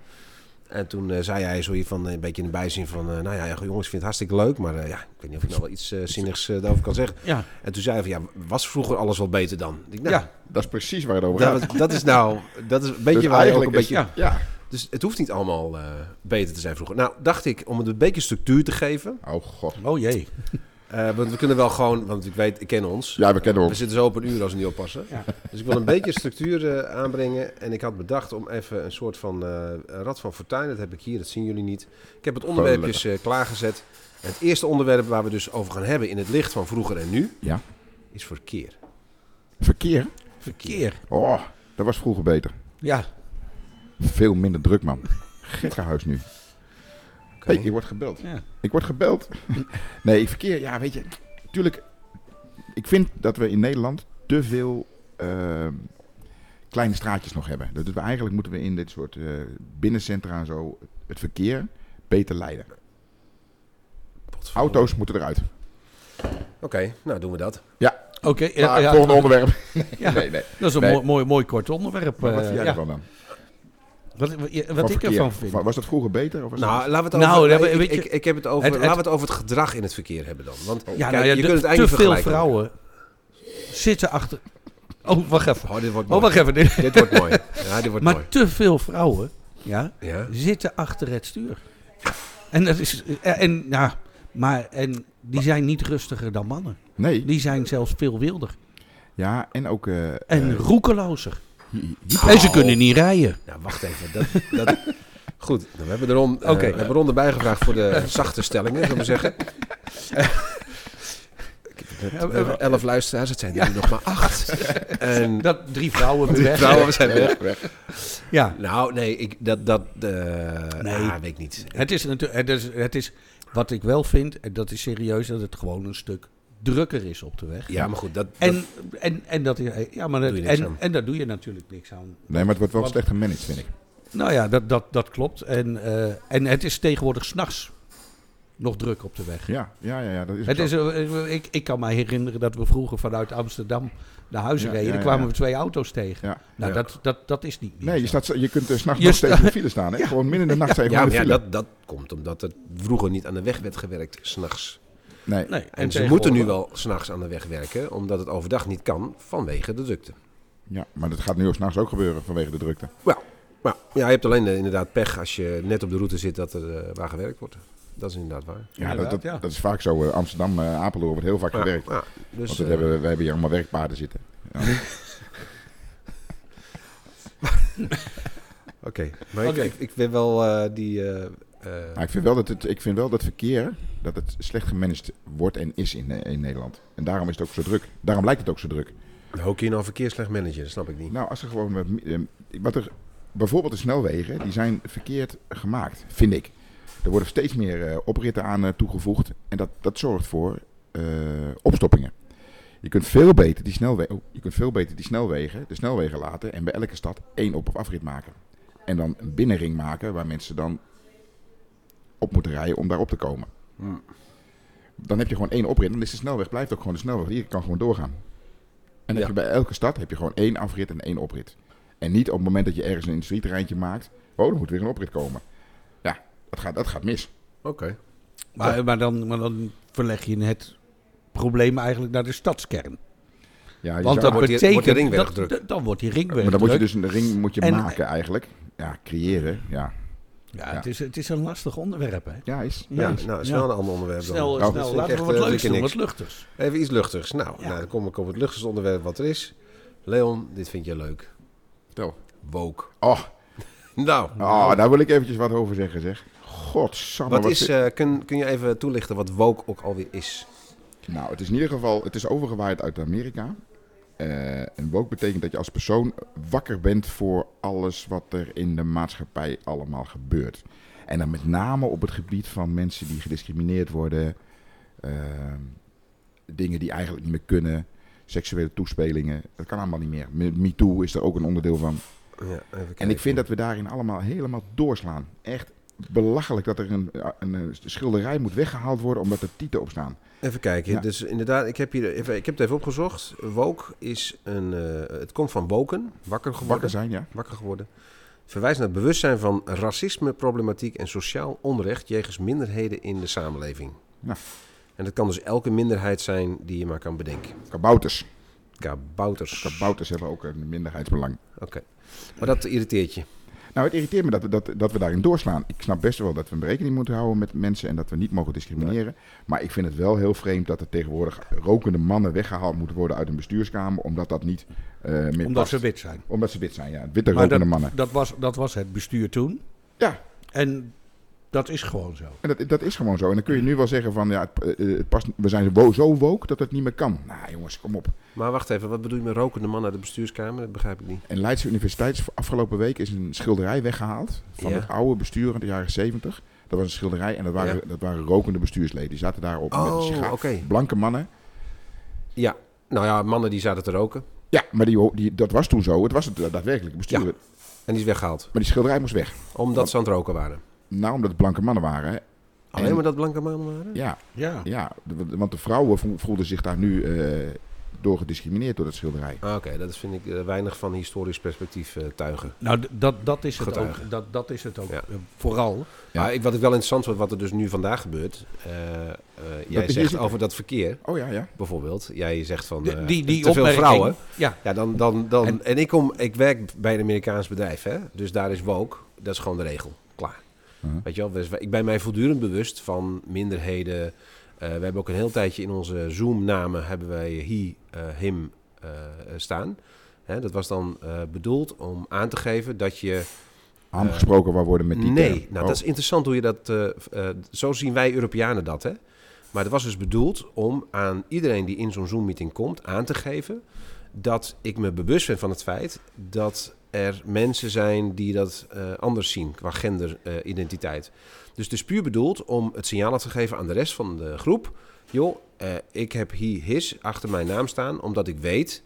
[SPEAKER 2] En toen eh, zei hij zo hier van eh, een beetje in de bijzin van... eh, nou ja, jongens, ik vind het hartstikke leuk. Maar eh, ja, ik weet niet of ik nou wel iets eh, zinnigs eh, daarover kan zeggen.
[SPEAKER 3] ja.
[SPEAKER 2] En toen zei hij van, ja, was vroeger alles wel beter dan? Ik, nou,
[SPEAKER 3] Ja.
[SPEAKER 1] Dat is precies waar het over gaat.
[SPEAKER 2] dat, dat is nou... Dat is een beetje
[SPEAKER 1] Dus
[SPEAKER 2] waar je ook
[SPEAKER 1] eigenlijk
[SPEAKER 2] een beetje...
[SPEAKER 1] is- Ja.
[SPEAKER 2] Dus het hoeft niet allemaal eh, beter te zijn vroeger. Nou, dacht ik, om het een beetje structuur te geven.
[SPEAKER 1] Oh god.
[SPEAKER 3] Oh jee.
[SPEAKER 2] eh, want we kunnen wel gewoon... Want ik weet, ik ken ons.
[SPEAKER 1] Ja, we kennen
[SPEAKER 2] We
[SPEAKER 1] ons.
[SPEAKER 2] zitten zo op een uur als we niet oppassen.
[SPEAKER 3] Ja.
[SPEAKER 2] Dus ik wil een beetje structuur eh, aanbrengen. En ik had bedacht om even een soort van eh, een rad van fortuin. Dat heb ik hier, dat zien jullie niet. Ik heb het onderwerpjes eh, klaargezet. Het eerste onderwerp waar we dus over gaan hebben in het licht van vroeger en nu...
[SPEAKER 1] Ja.
[SPEAKER 2] is verkeer.
[SPEAKER 1] Verkeer.
[SPEAKER 3] Verkeer.
[SPEAKER 1] Oh, dat was vroeger beter.
[SPEAKER 3] Ja.
[SPEAKER 1] Veel minder druk, man. Gekkenhuis nu.
[SPEAKER 2] Oké.
[SPEAKER 1] Hey, ik word gebeld.
[SPEAKER 3] ja.
[SPEAKER 1] Ik word gebeld. nee, verkeer. Ja, weet je. Tuurlijk. Ik vind dat we in Nederland te veel eh, kleine straatjes nog hebben. Dus we, eigenlijk moeten we in dit soort eh, binnencentra en zo het verkeer beter leiden.
[SPEAKER 2] Potverdorie.
[SPEAKER 1] Auto's moeten eruit.
[SPEAKER 2] Oké, nou doen we dat.
[SPEAKER 3] Oké, eh,
[SPEAKER 1] Ja,
[SPEAKER 3] ja, ja,
[SPEAKER 1] volgende onderwerp.
[SPEAKER 3] ja.
[SPEAKER 1] Nee, nee.
[SPEAKER 3] dat is een
[SPEAKER 1] Nee.
[SPEAKER 3] mooi, mooi, mooi kort onderwerp.
[SPEAKER 1] Maar <laughs> wat
[SPEAKER 3] eh,
[SPEAKER 1] vind jij
[SPEAKER 3] ja.
[SPEAKER 1] ervan dan?
[SPEAKER 3] Wat, wat, wat
[SPEAKER 1] Van
[SPEAKER 3] ik
[SPEAKER 1] verkeer.
[SPEAKER 3] ervan vind.
[SPEAKER 1] Wa- Was dat vroeger beter? Of was
[SPEAKER 2] Nou,
[SPEAKER 1] dat...
[SPEAKER 2] laten we het
[SPEAKER 3] Nou,
[SPEAKER 2] over...
[SPEAKER 3] ja, maar
[SPEAKER 2] ik,
[SPEAKER 3] weet je-
[SPEAKER 2] ik, ik heb het over...
[SPEAKER 3] het- het-
[SPEAKER 2] laten we het over het gedrag in het verkeer hebben dan. Want
[SPEAKER 3] ja,
[SPEAKER 2] kijk,
[SPEAKER 3] nou ja,
[SPEAKER 2] je
[SPEAKER 3] de-
[SPEAKER 2] kunt het
[SPEAKER 3] te
[SPEAKER 2] eigenlijk niet
[SPEAKER 3] veel
[SPEAKER 2] vergelijken.
[SPEAKER 3] vrouwen zitten achter. Oh, wacht even.
[SPEAKER 2] Oh, dit wordt mooi.
[SPEAKER 3] Oh, wacht even. Dit-
[SPEAKER 2] Dit wordt mooi. Ja, dit wordt mooi.
[SPEAKER 3] Maar te veel vrouwen ja,
[SPEAKER 2] Ja.
[SPEAKER 3] zitten achter het stuur. En dat is. eh, En, ja, maar en die zijn niet rustiger dan mannen.
[SPEAKER 1] Nee.
[SPEAKER 3] Die zijn zelfs veel wilder.
[SPEAKER 1] Ja, en ook... eh,
[SPEAKER 3] En
[SPEAKER 1] eh,
[SPEAKER 3] roekelozer.
[SPEAKER 1] hy-
[SPEAKER 3] En ze kunnen niet rijden.
[SPEAKER 2] Nou, wacht even. Dat, dat...
[SPEAKER 3] <laughs>
[SPEAKER 2] Goed, nou, we hebben er Ron, eh,
[SPEAKER 3] Oké.
[SPEAKER 2] we hebben Ron erbij gevraagd voor de zachte stellingen, zullen we
[SPEAKER 3] <laughs>
[SPEAKER 2] zeggen. Ik heb net, we hebben elf luisteraars, het zijn er nu nog maar
[SPEAKER 3] <laughs>
[SPEAKER 2] acht. En <laughs>
[SPEAKER 3] Dat <laughs> drie vrouwen
[SPEAKER 2] die
[SPEAKER 3] weg.
[SPEAKER 2] vrouwen zijn weg.
[SPEAKER 3] Ja.
[SPEAKER 2] Nou, nee, ik, dat, dat eh,
[SPEAKER 3] Nee.
[SPEAKER 2] ah, weet ik niet.
[SPEAKER 3] Het is, natuurlijk- het, is, het is wat ik wel vind, en dat is serieus, dat het gewoon een stuk drukker is op de weg.
[SPEAKER 2] Ja, maar goed, dat, dat-
[SPEAKER 3] En, en, en, dat, is- ja, maar dat,
[SPEAKER 2] Doe je niks
[SPEAKER 3] en,
[SPEAKER 2] aan.
[SPEAKER 3] en daar doe je natuurlijk niks aan.
[SPEAKER 1] Nee, maar het wordt wel
[SPEAKER 3] Wat-
[SPEAKER 1] slecht gemanaged, vind ik.
[SPEAKER 3] Nou ja, dat, dat, dat klopt. En, eh, en het is tegenwoordig s'nachts nog druk op de weg.
[SPEAKER 1] Ja, ja, ja, ja dat is ook
[SPEAKER 3] Het
[SPEAKER 1] zo.
[SPEAKER 3] is, eh, ik, ik kan me herinneren dat we vroeger vanuit Amsterdam naar huis
[SPEAKER 1] Ja,
[SPEAKER 3] reden.
[SPEAKER 1] ja,
[SPEAKER 3] Dan
[SPEAKER 1] ja,
[SPEAKER 3] kwamen
[SPEAKER 1] ja.
[SPEAKER 3] we twee auto's tegen.
[SPEAKER 1] Ja.
[SPEAKER 3] Nou,
[SPEAKER 2] Ja.
[SPEAKER 3] dat, dat, dat is niet meer.
[SPEAKER 1] Nee, je,
[SPEAKER 3] zo.
[SPEAKER 1] staat, je kunt eh, 's s'nachts
[SPEAKER 3] Je
[SPEAKER 1] nog steeds
[SPEAKER 3] sta-
[SPEAKER 1] in de file staan. Hè? Gewoon midden in de nacht sta je
[SPEAKER 2] ja,
[SPEAKER 1] gewoon
[SPEAKER 2] maar
[SPEAKER 1] in de
[SPEAKER 2] ja,
[SPEAKER 1] file.
[SPEAKER 2] dat, dat komt omdat er vroeger niet aan de weg werd gewerkt, s'nachts.
[SPEAKER 1] Nee.
[SPEAKER 3] Nee,
[SPEAKER 2] En ze
[SPEAKER 3] tegenwoordig-
[SPEAKER 2] moeten nu wel s'nachts aan de weg werken, omdat het overdag niet kan vanwege de drukte.
[SPEAKER 1] Ja, maar dat gaat nu ook s'nachts ook gebeuren vanwege de drukte.
[SPEAKER 2] Maar ja, je hebt alleen eh, inderdaad pech als je net op de route zit dat er eh, waar gewerkt wordt. Dat is inderdaad waar.
[SPEAKER 1] Ja, dat, dat,
[SPEAKER 3] Inderdaad, ja.
[SPEAKER 1] dat is vaak zo. eh, Amsterdam, eh Apeldoorn wordt heel vaak
[SPEAKER 2] Ja,
[SPEAKER 1] gewerkt.
[SPEAKER 2] ja, dus,
[SPEAKER 1] Want we
[SPEAKER 2] eh,
[SPEAKER 1] hebben, we hebben hier allemaal werkpaarden zitten.
[SPEAKER 2] eh, Oké, maar ik-
[SPEAKER 3] Oké.
[SPEAKER 2] Ik, ik ben wel eh, die... eh, eh,
[SPEAKER 1] Maar ik vind wel dat, het, ik vind wel dat verkeer dat het slecht gemanaged wordt en is in, eh, in Nederland. En daarom is het ook zo druk. Daarom lijkt het ook zo druk.
[SPEAKER 2] Hoe kun je nou verkeer slecht managen? Dat snap ik niet.
[SPEAKER 1] Nou, als er gewoon. wat mi- eh, Wat er, bijvoorbeeld de snelwegen, die zijn verkeerd gemaakt, vind ik. Er worden steeds meer eh, opritten aan eh, toegevoegd. En dat, dat zorgt voor eh, opstoppingen. Je kunt, veel beter die snelwegen, je kunt veel beter die snelwegen, de snelwegen laten en bij elke stad één op- of afrit maken. En dan een binnenring maken waar mensen dan op moeten rijden om daarop te komen.
[SPEAKER 2] Hmm.
[SPEAKER 1] Dan heb je gewoon één oprit, dan is de snelweg, blijft ook gewoon de snelweg. Hier kan gewoon doorgaan. En dan
[SPEAKER 2] Ja.
[SPEAKER 1] heb je bij elke stad heb je gewoon één afrit en één oprit. En niet op het moment dat je ergens een industrieterreintje maakt, oh, er moet weer een oprit komen. Ja, dat gaat, dat gaat mis.
[SPEAKER 2] Oké.
[SPEAKER 3] Maar, maar, dan, maar dan verleg je het probleem eigenlijk naar de stadskern.
[SPEAKER 1] Ja, je
[SPEAKER 3] Want
[SPEAKER 1] zou-
[SPEAKER 3] dat
[SPEAKER 2] dan wordt die- wordt
[SPEAKER 3] betekent
[SPEAKER 2] die ringweg
[SPEAKER 3] dat,
[SPEAKER 2] druk.
[SPEAKER 3] dat- dan wordt die ringweg
[SPEAKER 1] maar dan moet je
[SPEAKER 3] druk.
[SPEAKER 1] dus een ring moet je
[SPEAKER 3] En-
[SPEAKER 1] maken eigenlijk. Ja, creëren. Ja,
[SPEAKER 3] ja, Het, is, het is een lastig onderwerp, hè.
[SPEAKER 1] ja is.
[SPEAKER 2] dus- Ja,
[SPEAKER 3] Ja.
[SPEAKER 2] nou, snel een ander onderwerp dan.
[SPEAKER 3] Snel,
[SPEAKER 1] dat
[SPEAKER 3] snel.
[SPEAKER 2] vind ik
[SPEAKER 3] Laten we
[SPEAKER 2] echt,
[SPEAKER 3] wat
[SPEAKER 2] eh,
[SPEAKER 3] leuks
[SPEAKER 2] vind
[SPEAKER 3] doen,
[SPEAKER 2] ik
[SPEAKER 3] wat
[SPEAKER 2] niks.
[SPEAKER 3] luchtigs.
[SPEAKER 2] Even iets luchtigs. Nou,
[SPEAKER 3] Ja.
[SPEAKER 2] nou, dan kom ik op het luchtigste onderwerp wat er is. Leon, dit vind je leuk.
[SPEAKER 1] Vertel.
[SPEAKER 2] Woke.
[SPEAKER 1] Oh,
[SPEAKER 2] Nou,
[SPEAKER 1] oh, daar wil ik eventjes wat over zeggen zeg. Godsamme.
[SPEAKER 2] wat
[SPEAKER 1] wat
[SPEAKER 2] is, eh, kun, kun je even toelichten wat woke ook alweer is?
[SPEAKER 1] Nou, het is in ieder geval, het is overgewaaid uit Amerika. Eh, en woke betekent dat je als persoon wakker bent voor alles wat er in de maatschappij allemaal gebeurt. En dan met name op het gebied van mensen die gediscrimineerd worden, eh, dingen die eigenlijk niet meer kunnen, seksuele toespelingen, dat kan allemaal niet meer. Me- MeToo is er ook een onderdeel van.
[SPEAKER 2] Ja, even
[SPEAKER 1] En ik vind dat we daarin allemaal helemaal doorslaan. Echt belachelijk dat er een, een, eh, schilderij moet weggehaald worden omdat er tieten op staan.
[SPEAKER 2] Even kijken.
[SPEAKER 1] Ja.
[SPEAKER 2] Dus inderdaad, ik heb, hier even, ik heb het even opgezocht. Woke is een... eh, het komt van woken, wakker geworden.
[SPEAKER 1] Wakker zijn, ja.
[SPEAKER 2] wakker geworden. Verwijst naar het bewustzijn van racisme, problematiek en sociaal onrecht jegens minderheden in de samenleving.
[SPEAKER 1] Ja.
[SPEAKER 2] En dat kan dus elke minderheid zijn die je maar kan bedenken.
[SPEAKER 1] Kabouters.
[SPEAKER 2] Kabouters.
[SPEAKER 1] Kabouters hebben ook een minderheidsbelang.
[SPEAKER 2] Oké. Maar dat irriteert je.
[SPEAKER 1] Nou, het irriteert me dat we, dat, dat we daarin doorslaan. Ik snap best wel dat we een rekening moeten houden met mensen en dat we niet mogen discrimineren. Maar ik vind het wel heel vreemd dat er tegenwoordig rokende mannen weggehaald moeten worden uit een bestuurskamer. Omdat dat niet eh, meer
[SPEAKER 3] Omdat
[SPEAKER 1] past.
[SPEAKER 3] ze wit zijn.
[SPEAKER 1] Omdat ze wit zijn, ja. Witte
[SPEAKER 3] Maar
[SPEAKER 1] rokende
[SPEAKER 3] dat,
[SPEAKER 1] mannen.
[SPEAKER 3] dat, was, dat was het bestuur toen.
[SPEAKER 1] Ja,
[SPEAKER 3] En dat is gewoon zo.
[SPEAKER 1] en dat, dat is gewoon zo. En dan kun je nu wel zeggen van, ja, het, eh, het past, we zijn wo- zo woke dat het niet meer kan. Nou jongens, kom op.
[SPEAKER 2] Maar wacht even, wat bedoel je met rokende man uit de bestuurskamer? Dat begrijp ik niet.
[SPEAKER 1] En Leidse Universiteit is afgelopen week is een schilderij weggehaald van
[SPEAKER 2] Ja.
[SPEAKER 1] het oude bestuur uit de jaren 70. Dat was een schilderij en dat waren,
[SPEAKER 2] Ja.
[SPEAKER 1] dat waren rokende bestuursleden. Die zaten daarop met een
[SPEAKER 2] Oh,
[SPEAKER 1] sigaar.
[SPEAKER 2] oké.
[SPEAKER 1] Blanke mannen.
[SPEAKER 2] Ja. Nou ja, mannen die zaten te roken.
[SPEAKER 1] Ja, maar die, die, dat was toen zo. Het was het daadwerkelijke bestuur.
[SPEAKER 2] Ja.
[SPEAKER 1] Maar
[SPEAKER 2] En die is weggehaald.
[SPEAKER 1] die schilderij moest weg.
[SPEAKER 2] Omdat ze aan het roken waren.
[SPEAKER 1] Nou, omdat het blanke mannen waren.
[SPEAKER 2] Alleen
[SPEAKER 1] En-
[SPEAKER 2] maar dat blanke mannen waren?
[SPEAKER 1] Ja,
[SPEAKER 3] Ja.
[SPEAKER 1] ja, de- want de vrouwen vo- voelden zich daar nu eh, door gediscrimineerd door dat schilderij.
[SPEAKER 2] Ah, Oké, dat vind ik eh, weinig van historisch perspectief eh, tuigen.
[SPEAKER 3] Nou, d- dat, dat is het
[SPEAKER 2] Getuigen.
[SPEAKER 3] ook. Dat, dat is het ook
[SPEAKER 2] Ja.
[SPEAKER 3] eh, vooral.
[SPEAKER 1] Ja.
[SPEAKER 2] Maar ik, wat ik wel interessant vind, wat er dus nu vandaag gebeurt. eh, eh, jij
[SPEAKER 1] hier
[SPEAKER 2] zegt
[SPEAKER 1] zit-
[SPEAKER 2] over dat verkeer
[SPEAKER 1] Oh ja, ja.
[SPEAKER 2] bijvoorbeeld. Jij zegt van
[SPEAKER 3] De-
[SPEAKER 2] eh,
[SPEAKER 3] die, die
[SPEAKER 2] te veel
[SPEAKER 3] opmerking-
[SPEAKER 2] vrouwen.
[SPEAKER 3] Ja.
[SPEAKER 2] Ja, dan, dan, dan, en,
[SPEAKER 3] En-
[SPEAKER 2] ik, kom, ik werk bij een Amerikaans bedrijf, hè? dus daar is woke, dat is gewoon de regel. Klaar.
[SPEAKER 1] Mhm.
[SPEAKER 2] Weet je wel, dus ik ben mij voortdurend bewust van minderheden. Eh, we hebben ook een heel tijdje in onze Zoom-namen hebben wij he, eh, him, eh, eh, staan. Hè, dat was dan eh, bedoeld om aan te geven dat je
[SPEAKER 1] Aangesproken waar worden met die
[SPEAKER 2] Eh, nee,
[SPEAKER 1] term.
[SPEAKER 2] nou
[SPEAKER 1] Oh,
[SPEAKER 2] dat is interessant hoe je dat. eh, v- eh, zo zien wij Europeanen dat, hè? Maar dat was dus bedoeld om aan iedereen die in zo'n Zoom-meeting komt aan te geven dat ik me bewust ben van het feit dat er mensen zijn die dat eh, anders zien qua genderidentiteit. dus het is puur bedoeld om het signaal af te geven aan de rest van de groep. Joh, eh, ik heb hier his achter mijn naam staan, omdat ik weet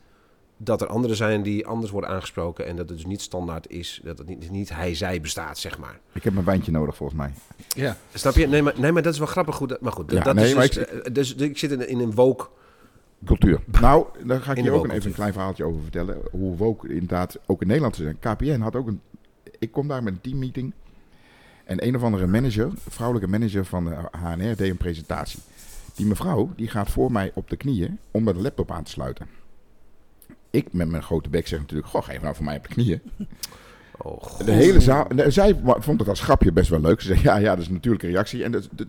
[SPEAKER 2] dat er anderen zijn die anders worden aangesproken en dat het dus niet standaard is, dat het niet, niet hij, zij bestaat, zeg maar.
[SPEAKER 1] Oh, Ik heb een wijntje nodig volgens mij.
[SPEAKER 3] Ja.
[SPEAKER 2] Snap je? Nee, maar, nee, maar dat is wel grappig. Goed, dat- maar goed,
[SPEAKER 1] Ja,
[SPEAKER 2] dat
[SPEAKER 1] nee,
[SPEAKER 2] is
[SPEAKER 1] maar
[SPEAKER 2] dus, eh, dus, dus ik zit in, in een woke.
[SPEAKER 1] Cultuur. Nou, daar ga ik
[SPEAKER 2] In
[SPEAKER 1] je
[SPEAKER 2] de
[SPEAKER 1] ook een- even
[SPEAKER 2] woke
[SPEAKER 1] een klein verhaaltje over vertellen. Hoe woke inderdaad ook in Nederland te zijn. KPN had ook een... Ik kom daar met een teammeeting. En een of andere manager, een vrouwelijke manager van de HNR, deed een presentatie. Die mevrouw, die gaat voor mij op de knieën om mijn laptop aan te sluiten. Ik met mijn grote bek zeg natuurlijk, goh, ga je nou voor mij op de knieën?
[SPEAKER 2] Oh, god.
[SPEAKER 1] De hele zaal... nee, zij wa- vond het als grapje best wel leuk. Ze zei, ja, ja, dat is natuurlijk een reactie. En dat, dat,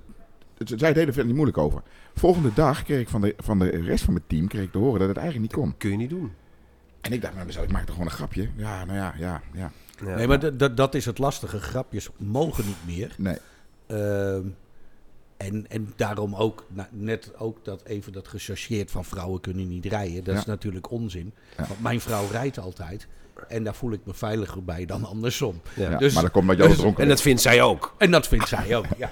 [SPEAKER 1] dat- zij deden er verder niet moeilijk over. Volgende dag kreeg ik van de, van de rest van mijn team kreeg ik te horen dat het eigenlijk niet kon.
[SPEAKER 2] Kun je niet doen.
[SPEAKER 1] En ik dacht bij mezelf, ik maak er gewoon een grapje. Ja, nou ja, ja, ja.
[SPEAKER 2] Ja.
[SPEAKER 3] Nee, maar dat- dat- dat is het lastige. Grapjes mogen niet meer.
[SPEAKER 1] Nee,
[SPEAKER 3] Ehm, en, en daarom ook, nou, net ook dat even dat gechargeerd van vrouwen kunnen niet rijden. Dat
[SPEAKER 1] Ja.
[SPEAKER 3] is natuurlijk onzin.
[SPEAKER 1] Ja.
[SPEAKER 3] Want mijn vrouw rijdt altijd. En daar voel ik me veiliger bij dan andersom.
[SPEAKER 2] Ja.
[SPEAKER 1] ja,
[SPEAKER 3] Dus-
[SPEAKER 1] maar dat komt met jou
[SPEAKER 3] dus-
[SPEAKER 1] dronken.
[SPEAKER 2] En dat vindt zij ook.
[SPEAKER 3] En dat vindt zij ook,
[SPEAKER 2] <laughs>
[SPEAKER 3] ja.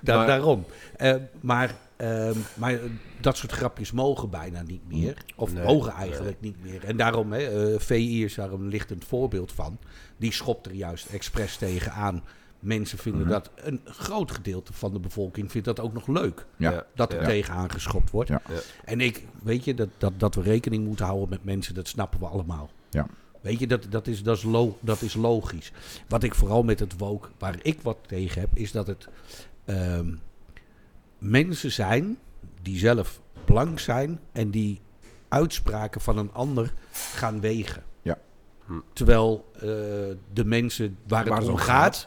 [SPEAKER 3] Da-
[SPEAKER 2] Maar-
[SPEAKER 3] Daarom. Eh, maar, ehm, maar dat soort grapjes mogen bijna niet meer. Of
[SPEAKER 2] Nee,
[SPEAKER 3] mogen eigenlijk niet meer. En daarom, hè, eh, VI is daar een lichtend voorbeeld van. Die schopt er juist expres tegen aan. Mensen vinden
[SPEAKER 2] Mhm.
[SPEAKER 3] dat, een groot gedeelte van de bevolking vindt dat ook nog leuk.
[SPEAKER 1] Ja.
[SPEAKER 3] Dat er
[SPEAKER 2] Ja.
[SPEAKER 3] tegen aangeschopt wordt.
[SPEAKER 1] Ja.
[SPEAKER 2] Ja.
[SPEAKER 3] En ik, weet je, dat, dat, dat we rekening moeten houden met mensen, dat snappen we allemaal.
[SPEAKER 1] Ja.
[SPEAKER 3] Weet je, dat, dat, is, dat, is lo- dat is logisch. Wat ik vooral met het woke, waar ik wat tegen heb, is dat het ehm, mensen zijn die zelf blank zijn en die uitspraken van een ander gaan wegen.
[SPEAKER 1] Ja.
[SPEAKER 2] Hm.
[SPEAKER 3] Terwijl eh, de mensen waar, het om gaat,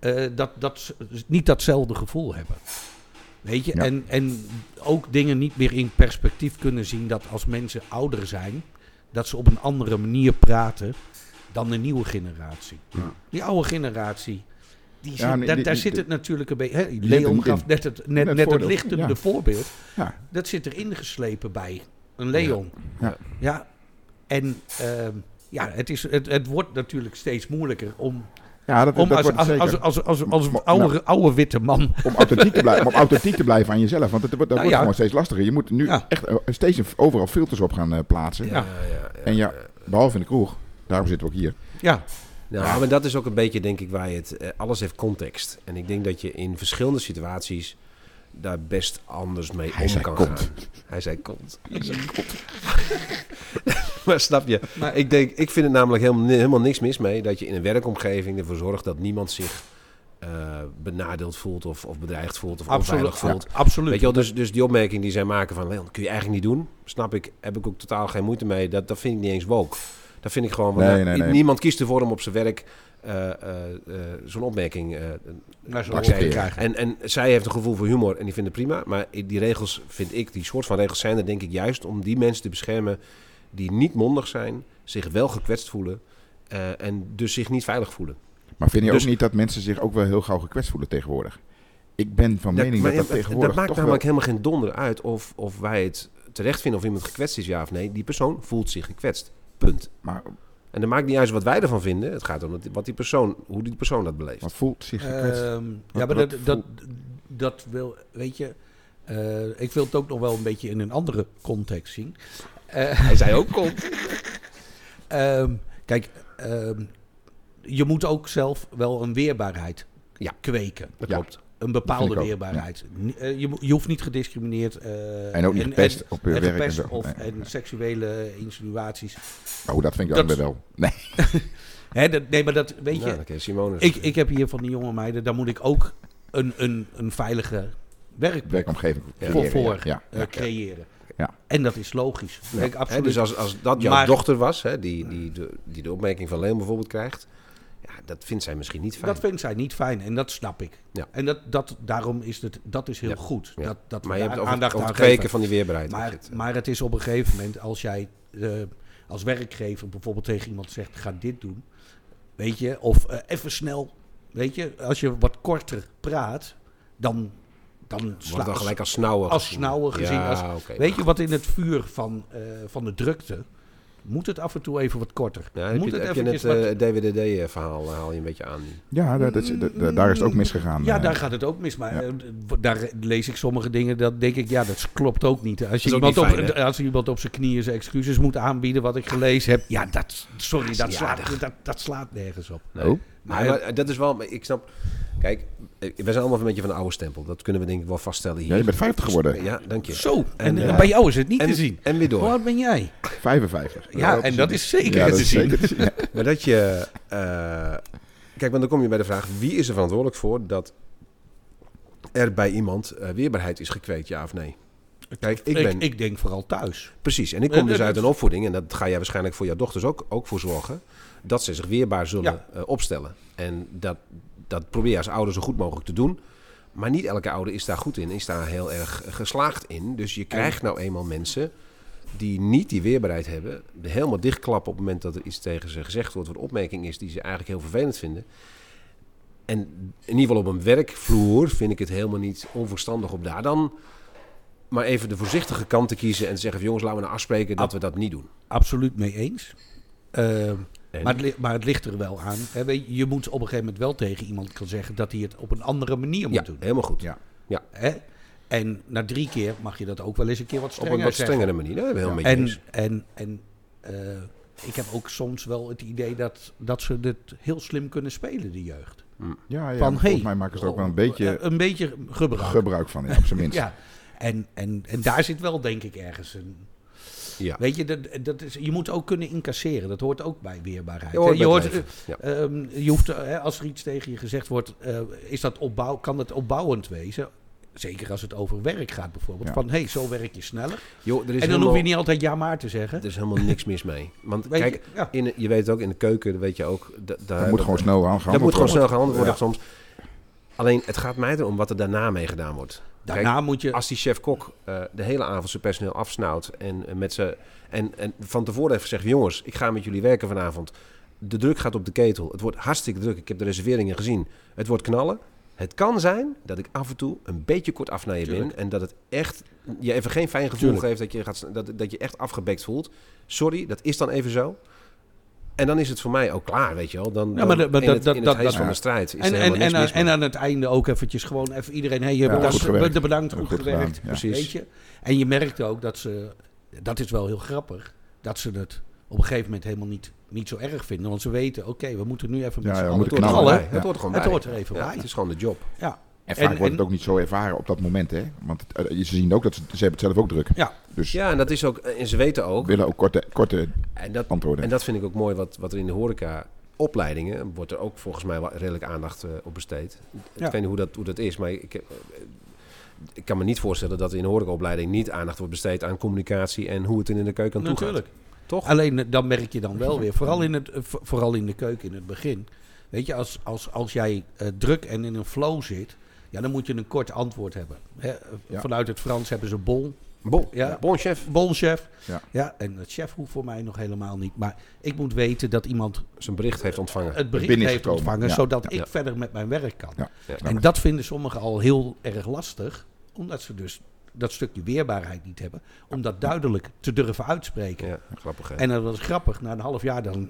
[SPEAKER 2] Ja.
[SPEAKER 3] eh, dat, dat ze niet datzelfde gevoel hebben. Weet je,
[SPEAKER 1] Ja.
[SPEAKER 3] en, en ook dingen niet meer in perspectief kunnen zien dat als mensen ouder zijn, dat ze op een andere manier praten dan de nieuwe generatie.
[SPEAKER 1] Ja.
[SPEAKER 3] Die oude generatie, die zit,
[SPEAKER 1] Ja, nee,
[SPEAKER 3] daar,
[SPEAKER 1] die-
[SPEAKER 3] daar
[SPEAKER 1] die-
[SPEAKER 3] zit
[SPEAKER 1] die-
[SPEAKER 3] het natuurlijk een beetje. hè,
[SPEAKER 1] zit er
[SPEAKER 3] Leon
[SPEAKER 1] niet
[SPEAKER 3] gaf
[SPEAKER 1] in.
[SPEAKER 3] net het, net,
[SPEAKER 1] Net
[SPEAKER 3] net het
[SPEAKER 1] voordeel.
[SPEAKER 3] lichtende
[SPEAKER 1] Ja.
[SPEAKER 3] voorbeeld.
[SPEAKER 1] Ja.
[SPEAKER 3] Dat zit er ingeslepen bij een Leon.
[SPEAKER 1] Ja.
[SPEAKER 3] ja. En ehm, ja, het, is, het, het wordt natuurlijk steeds moeilijker om
[SPEAKER 1] ja, dat,
[SPEAKER 3] om
[SPEAKER 1] dat
[SPEAKER 3] als,
[SPEAKER 1] wordt het
[SPEAKER 3] als, als,
[SPEAKER 1] zeker.
[SPEAKER 3] als, als, als
[SPEAKER 1] Maar-
[SPEAKER 3] oude, oude witte man.
[SPEAKER 1] Om, authentiek te blijven, om authentiek te blijven aan jezelf. Want het, wordt- dat
[SPEAKER 3] Nou
[SPEAKER 1] wordt
[SPEAKER 3] ja.
[SPEAKER 1] gewoon steeds lastiger. Je moet nu
[SPEAKER 3] Ja.
[SPEAKER 1] echt eh, steeds een- overal filters op gaan eh, plaatsen.
[SPEAKER 2] Ja, ja, ja.
[SPEAKER 1] En ja, behalve in de kroeg. Daarom zitten we ook hier.
[SPEAKER 3] Ja,
[SPEAKER 2] Nou, maar dat is ook een beetje, denk ik, waar je het... eh, alles heeft context. En ik denk dat je in verschillende situaties daar best anders mee
[SPEAKER 1] Hij
[SPEAKER 2] om
[SPEAKER 1] zei
[SPEAKER 2] kan
[SPEAKER 1] komt.
[SPEAKER 2] gaan. Hij zei komt. Hij zei komt. <laughs> maar snap je?
[SPEAKER 3] Maar-
[SPEAKER 2] ik, denk, ik vind het namelijk helemaal, helemaal niks mis mee... dat je in een werkomgeving ervoor zorgt dat niemand zich eh, benadeeld voelt... Of, of bedreigd voelt of
[SPEAKER 3] absoluut.
[SPEAKER 2] onveilig voelt.
[SPEAKER 3] Ja, absoluut.
[SPEAKER 2] Weet je wel, dus, dus die opmerking die zij maken van... Leon, dat kun je eigenlijk niet doen. Snap ik, heb ik ook totaal geen moeite mee. Dat, dat vind ik niet eens woke. Dat vind ik gewoon... want
[SPEAKER 1] Nee,
[SPEAKER 2] ja,
[SPEAKER 1] nee,
[SPEAKER 2] i-
[SPEAKER 1] nee.
[SPEAKER 2] Niemand kiest ervoor om op zijn werk eh, eh, eh, zo'n opmerking eh,
[SPEAKER 3] Naar zo'n
[SPEAKER 2] te
[SPEAKER 1] accepteren.
[SPEAKER 2] krijgen.
[SPEAKER 3] opmerking krijgen.
[SPEAKER 2] En, en zij heeft een gevoel voor humor en die vindt het prima. Maar die regels, vind ik, die soort van regels zijn er denk ik juist... om die mensen te beschermen die niet mondig zijn... zich wel gekwetst voelen eh, en dus zich niet veilig voelen.
[SPEAKER 1] Maar vind je
[SPEAKER 2] Dus-
[SPEAKER 1] ook niet dat mensen zich ook wel heel gauw gekwetst voelen tegenwoordig? Ik ben van mening
[SPEAKER 2] maar
[SPEAKER 1] dat dat
[SPEAKER 2] ja,
[SPEAKER 1] tegenwoordig
[SPEAKER 2] maakt
[SPEAKER 1] toch
[SPEAKER 2] namelijk helemaal geen donder uit of, of wij het terecht vinden of iemand gekwetst is, ja of nee. Die persoon voelt zich gekwetst. Punt.
[SPEAKER 1] wel... Maar
[SPEAKER 2] En dat maakt niet uit wat wij ervan vinden. Het gaat om het- wat die persoon, hoe die persoon dat beleeft.
[SPEAKER 1] wat voelt zich gekwetst?
[SPEAKER 3] Ehm, ja,
[SPEAKER 1] Wat-
[SPEAKER 3] maar
[SPEAKER 1] wat
[SPEAKER 3] dat, dat, dat wil, weet je, eh, ik wil het ook nog wel een beetje in een andere context zien. Eh,
[SPEAKER 2] Hij zei ook komt.
[SPEAKER 3] <laughs> ehm, kijk, ehm, je moet ook zelf wel een weerbaarheid
[SPEAKER 2] Ja.
[SPEAKER 3] kweken.
[SPEAKER 2] Dat
[SPEAKER 1] Ja.
[SPEAKER 2] klopt.
[SPEAKER 3] Een
[SPEAKER 1] vind ik
[SPEAKER 3] bepaalde
[SPEAKER 1] ook,
[SPEAKER 3] weerbaarheid. Ni- eh, je, mo- je hoeft niet gediscrimineerd. eh,
[SPEAKER 1] en ook niet gepest op je
[SPEAKER 3] en
[SPEAKER 1] werk. En
[SPEAKER 3] gepest
[SPEAKER 1] zo.
[SPEAKER 3] of
[SPEAKER 1] Nee.
[SPEAKER 3] en seksuele insinuaties.
[SPEAKER 1] Oh, dat vind ik ook
[SPEAKER 3] Dat-
[SPEAKER 1] weer wel. Nee. <laughs>
[SPEAKER 3] Hè, dat, nee, maar dat weet
[SPEAKER 2] Ja,
[SPEAKER 3] je.
[SPEAKER 2] Nou, dan ken je Simone.
[SPEAKER 3] Ik, ik heb hier van die jonge meiden, daar moet ik ook een, een, een veilige werk
[SPEAKER 1] Werkomgeving.
[SPEAKER 2] Ja.
[SPEAKER 1] creëren,
[SPEAKER 3] Voor- voor.
[SPEAKER 1] Ja.
[SPEAKER 3] eh, creëren.
[SPEAKER 1] Ja.
[SPEAKER 3] En dat is logisch. Kijk,
[SPEAKER 2] Hè,
[SPEAKER 3] absoluut.
[SPEAKER 2] dus als, als dat jouw
[SPEAKER 3] Maar-
[SPEAKER 2] dochter was, hè, die, die, de, die de opmerking van Leon bijvoorbeeld krijgt... Ja, dat vindt zij misschien niet fijn.
[SPEAKER 3] Dat vindt zij niet fijn en dat snap ik.
[SPEAKER 2] Ja.
[SPEAKER 3] En dat, dat, daarom is het, dat is heel
[SPEAKER 2] Ja.
[SPEAKER 3] goed.
[SPEAKER 2] Ja.
[SPEAKER 3] Dat, dat we
[SPEAKER 2] maar je hebt
[SPEAKER 3] daar
[SPEAKER 2] over,
[SPEAKER 3] aandacht
[SPEAKER 2] over
[SPEAKER 3] aan
[SPEAKER 2] het kweken
[SPEAKER 3] geven.
[SPEAKER 2] van die weerbaarheid.
[SPEAKER 3] Maar, maar het is op een gegeven moment, als jij eh, als werkgever bijvoorbeeld tegen iemand zegt: ga dit doen. Weet je, of eh, even snel. Weet je, als je wat korter praat, dan, dan
[SPEAKER 2] Wordt
[SPEAKER 3] slaat
[SPEAKER 2] dan gelijk als snauwen
[SPEAKER 3] als snauwen gezien,
[SPEAKER 2] Ja,
[SPEAKER 3] als-
[SPEAKER 2] oké,
[SPEAKER 3] Weet je wat in het vuur van, eh, van de drukte. Moet het af en toe even wat korter?
[SPEAKER 2] Ja, Nou, heb,
[SPEAKER 3] Moet
[SPEAKER 2] je,
[SPEAKER 3] het
[SPEAKER 2] heb je eh, het
[SPEAKER 3] eventjes wat-
[SPEAKER 2] DWDD-verhaal eh, haal je een beetje aan. nu.
[SPEAKER 1] Ja, dat, dat- dat- dat- Eh, daar is het ook misgegaan.
[SPEAKER 3] Ja,
[SPEAKER 1] eh.
[SPEAKER 3] daar gaat het ook mis. Maar
[SPEAKER 1] Ja.
[SPEAKER 3] eh, d- daar lees ik sommige dingen, dat denk ik, ja, dat klopt ook niet. Als je,
[SPEAKER 2] ook
[SPEAKER 3] iemand,
[SPEAKER 2] niet
[SPEAKER 3] op,
[SPEAKER 2] fijn, hè?
[SPEAKER 3] als iemand op zijn knieën zijn excuses moet aanbieden, wat ik gelezen heb, ja, dat, sorry, dat, slaat, dat, dat slaat nergens op.
[SPEAKER 2] Nee.
[SPEAKER 1] Oh.
[SPEAKER 2] Maar, maar dat is wel, maar ik snap. Kijk, eh, we zijn allemaal een beetje van de oude stempel. Dat kunnen we denk ik wel vaststellen hier.
[SPEAKER 1] Ja, je bent 50 geworden.
[SPEAKER 2] Ja, dank je.
[SPEAKER 3] Zo, en,
[SPEAKER 2] eh,
[SPEAKER 3] eh, bij jou is het niet
[SPEAKER 2] en,
[SPEAKER 3] te zien.
[SPEAKER 2] En weer
[SPEAKER 3] Hoe
[SPEAKER 2] door.
[SPEAKER 3] oud ben jij?
[SPEAKER 1] 55.
[SPEAKER 3] Ja, en dat is zeker
[SPEAKER 1] Ja,
[SPEAKER 3] te
[SPEAKER 1] dat is
[SPEAKER 3] zien.
[SPEAKER 1] zeker
[SPEAKER 3] <laughs>
[SPEAKER 1] te zien. Ja.
[SPEAKER 2] Maar dat je. eh, kijk, want dan kom je bij de vraag: wie is er verantwoordelijk voor dat er bij iemand eh, weerbaarheid is gekweekt, ja of nee? Kijk, ik
[SPEAKER 3] Ik,
[SPEAKER 2] ben.
[SPEAKER 3] ik, denk vooral thuis.
[SPEAKER 2] Precies. En ik
[SPEAKER 3] Eh,
[SPEAKER 2] kom dus
[SPEAKER 3] dat-
[SPEAKER 2] uit
[SPEAKER 3] dat-
[SPEAKER 2] een opvoeding, en dat ga jij waarschijnlijk voor jouw dochters ook, ook voor zorgen, dat ze zich weerbaar zullen
[SPEAKER 3] Ja.
[SPEAKER 2] eh, opstellen. En dat, dat probeer je als ouder zo goed mogelijk te doen. Maar niet elke ouder is daar goed in, is daar heel erg geslaagd in. Dus je krijgt nou eenmaal mensen die niet die weerbaarheid hebben, helemaal dichtklappen op het moment dat er iets tegen ze gezegd wordt, wat een opmerking is die ze eigenlijk heel vervelend vinden. En in ieder geval op een werkvloer vind ik het helemaal niet onverstandig om daar dan maar even de voorzichtige kant te kiezen en te zeggen: van, jongens, laten we nou afspreken dat we dat niet doen.
[SPEAKER 3] Absoluut mee eens. Eh,
[SPEAKER 2] En-
[SPEAKER 3] maar, het, li- maar het ligt er wel aan. Hè, weet je, je moet op een gegeven moment wel tegen iemand kunnen zeggen dat hij het op een andere manier moet
[SPEAKER 2] ja,
[SPEAKER 3] doen.
[SPEAKER 2] helemaal goed.
[SPEAKER 1] Ja.
[SPEAKER 3] Hè? En na drie keer mag je dat ook wel eens een keer wat
[SPEAKER 2] Op
[SPEAKER 3] strenger
[SPEAKER 2] een wat
[SPEAKER 3] zeggen.
[SPEAKER 2] strengere manier. dus. Daar ben ik heel met je
[SPEAKER 3] En,
[SPEAKER 2] eens.
[SPEAKER 3] en, en eh, ik heb ook soms wel het idee dat, dat ze dit heel slim kunnen spelen, de jeugd.
[SPEAKER 1] Ja, ja,
[SPEAKER 3] Van, hey,
[SPEAKER 1] volgens mij maken ze er ook wel een beetje
[SPEAKER 3] Eh, Een beetje gebruik.
[SPEAKER 1] gebruik van, ja, op zijn minst.
[SPEAKER 3] ja. En, en, en daar zit wel, denk ik, ergens een...
[SPEAKER 2] Ja.
[SPEAKER 3] Weet je, dat, dat is, je moet ook kunnen incasseren. Dat hoort ook bij weerbaarheid.
[SPEAKER 2] Je hoort
[SPEAKER 3] hè. je,
[SPEAKER 2] bij
[SPEAKER 3] hoort,
[SPEAKER 2] het leven, ja.
[SPEAKER 3] eh, ehm, je hoeft, eh, hè, als er iets tegen je gezegd wordt, eh, is dat opbouw, kan het opbouwend wezen? Zeker als het over werk gaat bijvoorbeeld.
[SPEAKER 1] Ja.
[SPEAKER 3] Van, hé, hey, zo werk je sneller.
[SPEAKER 2] Joh, er is
[SPEAKER 3] En dan
[SPEAKER 2] helemaal-
[SPEAKER 3] hoef je niet altijd ja maar te zeggen.
[SPEAKER 2] Er is helemaal niks mis mee. Want
[SPEAKER 3] Weet
[SPEAKER 2] kijk,
[SPEAKER 3] je, ja.
[SPEAKER 2] in, je weet het ook, in de keuken dat weet je ook... da- daar-
[SPEAKER 3] eh,
[SPEAKER 1] Dat moet gewoon snel gaan.
[SPEAKER 2] Dat moet gewoon snel gehandeld worden
[SPEAKER 1] Ja.
[SPEAKER 2] soms. Alleen, het gaat mij erom wat er daarna mee gedaan wordt. Kijk,
[SPEAKER 3] Daarna moet je...
[SPEAKER 2] Als die chef-kok eh, de hele avond zijn personeel afsnauwt en, eh, met ze, en, en van tevoren heeft gezegd... jongens, ik ga met jullie werken vanavond. De druk gaat op de ketel. Het wordt hartstikke druk. Ik heb de reserveringen gezien. Het wordt knallen. Het kan zijn dat ik af en toe een beetje kort af naar je ben...
[SPEAKER 3] Tuurlijk.
[SPEAKER 2] en dat het echt je even geen fijn gevoel
[SPEAKER 3] Tuurlijk.
[SPEAKER 2] geeft... Dat je, gaat, dat, dat je echt afgebekt voelt. Sorry, dat is dan even zo. En dan is het voor mij ook klaar, weet je wel. Dan,
[SPEAKER 3] Ja, maar
[SPEAKER 2] dan
[SPEAKER 3] dat-
[SPEAKER 2] in het,
[SPEAKER 3] dat-
[SPEAKER 2] in het
[SPEAKER 3] dat-
[SPEAKER 2] hees van
[SPEAKER 1] ja.
[SPEAKER 2] de strijd is
[SPEAKER 3] en,
[SPEAKER 2] er
[SPEAKER 3] en,
[SPEAKER 2] helemaal
[SPEAKER 3] en,
[SPEAKER 2] niks mis mee.
[SPEAKER 3] en aan het einde ook eventjes gewoon even iedereen... hey, je
[SPEAKER 1] Ja,
[SPEAKER 3] hebt
[SPEAKER 1] goed
[SPEAKER 3] dat
[SPEAKER 1] gewerkt.
[SPEAKER 3] be- bedankt, goed,
[SPEAKER 1] Goed gedaan,
[SPEAKER 3] gewerkt.
[SPEAKER 1] ja.
[SPEAKER 2] Precies.
[SPEAKER 3] Weet je? En je merkt ook dat ze... Dat is wel heel grappig. Dat ze het op een gegeven moment helemaal niet, niet zo erg vinden. Want ze weten, oké, we moeten nu even
[SPEAKER 1] Ja, ja,
[SPEAKER 3] met z'n
[SPEAKER 1] we
[SPEAKER 3] allen
[SPEAKER 1] moeten
[SPEAKER 3] door de
[SPEAKER 1] knallen,
[SPEAKER 3] gallen.
[SPEAKER 1] hè?
[SPEAKER 2] Dat
[SPEAKER 1] Ja.
[SPEAKER 2] hoort er gewoon
[SPEAKER 3] Het
[SPEAKER 2] bij.
[SPEAKER 3] hoort er even
[SPEAKER 2] Ja,
[SPEAKER 3] bij.
[SPEAKER 2] Het is gewoon de job.
[SPEAKER 3] Ja.
[SPEAKER 1] En vaak
[SPEAKER 3] En-
[SPEAKER 1] wordt
[SPEAKER 3] en-
[SPEAKER 1] het ook niet zo ervaren op dat moment, hè? Want het- eh, ze zien ook dat ze, ze hebben het zelf ook druk.
[SPEAKER 3] Ja.
[SPEAKER 1] Dus
[SPEAKER 2] Ja, en dat is ook, en ze weten ook,
[SPEAKER 1] willen ook korte, korte
[SPEAKER 2] en dat,
[SPEAKER 1] antwoorden.
[SPEAKER 2] en dat vind ik ook mooi, wat, wat er in de horeca opleidingen, wordt er ook volgens mij wel redelijk aandacht eh, op besteed.
[SPEAKER 3] Ja.
[SPEAKER 2] Ik weet niet hoe dat, hoe dat is, maar ik, eh, ik kan me niet voorstellen dat in de horecaopleiding niet aandacht wordt besteed aan communicatie en hoe het er in de keuken aan toe gaat.
[SPEAKER 3] Natuurlijk.
[SPEAKER 2] Toch?
[SPEAKER 3] Alleen eh, dan merk je
[SPEAKER 1] <laughs>
[SPEAKER 3] dan wel weer, vooral in, het, eh, vo- vooral in de keuken in het begin. Weet je, als, als, als jij eh, druk en in een flow zit, ja, dan moet je een kort antwoord hebben. Hè, eh,
[SPEAKER 1] Ja.
[SPEAKER 3] Vanuit het Frans hebben ze bon,
[SPEAKER 2] Bon,
[SPEAKER 3] Ja.
[SPEAKER 2] bon chef.
[SPEAKER 3] bonchef.
[SPEAKER 1] Ja.
[SPEAKER 3] Ja, en het chef hoeft voor mij nog helemaal niet. Maar ik moet weten dat iemand
[SPEAKER 2] Zijn bericht heeft ontvangen.
[SPEAKER 3] het bericht
[SPEAKER 1] binnen is
[SPEAKER 3] heeft
[SPEAKER 1] gekomen.
[SPEAKER 3] ontvangen,
[SPEAKER 1] Ja.
[SPEAKER 3] zodat ik
[SPEAKER 2] Ja.
[SPEAKER 3] verder met mijn werk kan.
[SPEAKER 1] Ja.
[SPEAKER 2] Ja.
[SPEAKER 3] En dat vinden sommigen al heel erg lastig, omdat ze dus dat stukje weerbaarheid niet hebben, om dat duidelijk te durven uitspreken.
[SPEAKER 2] Ja, grappig. hè?
[SPEAKER 3] En dat was grappig, na een half jaar dan
[SPEAKER 1] komt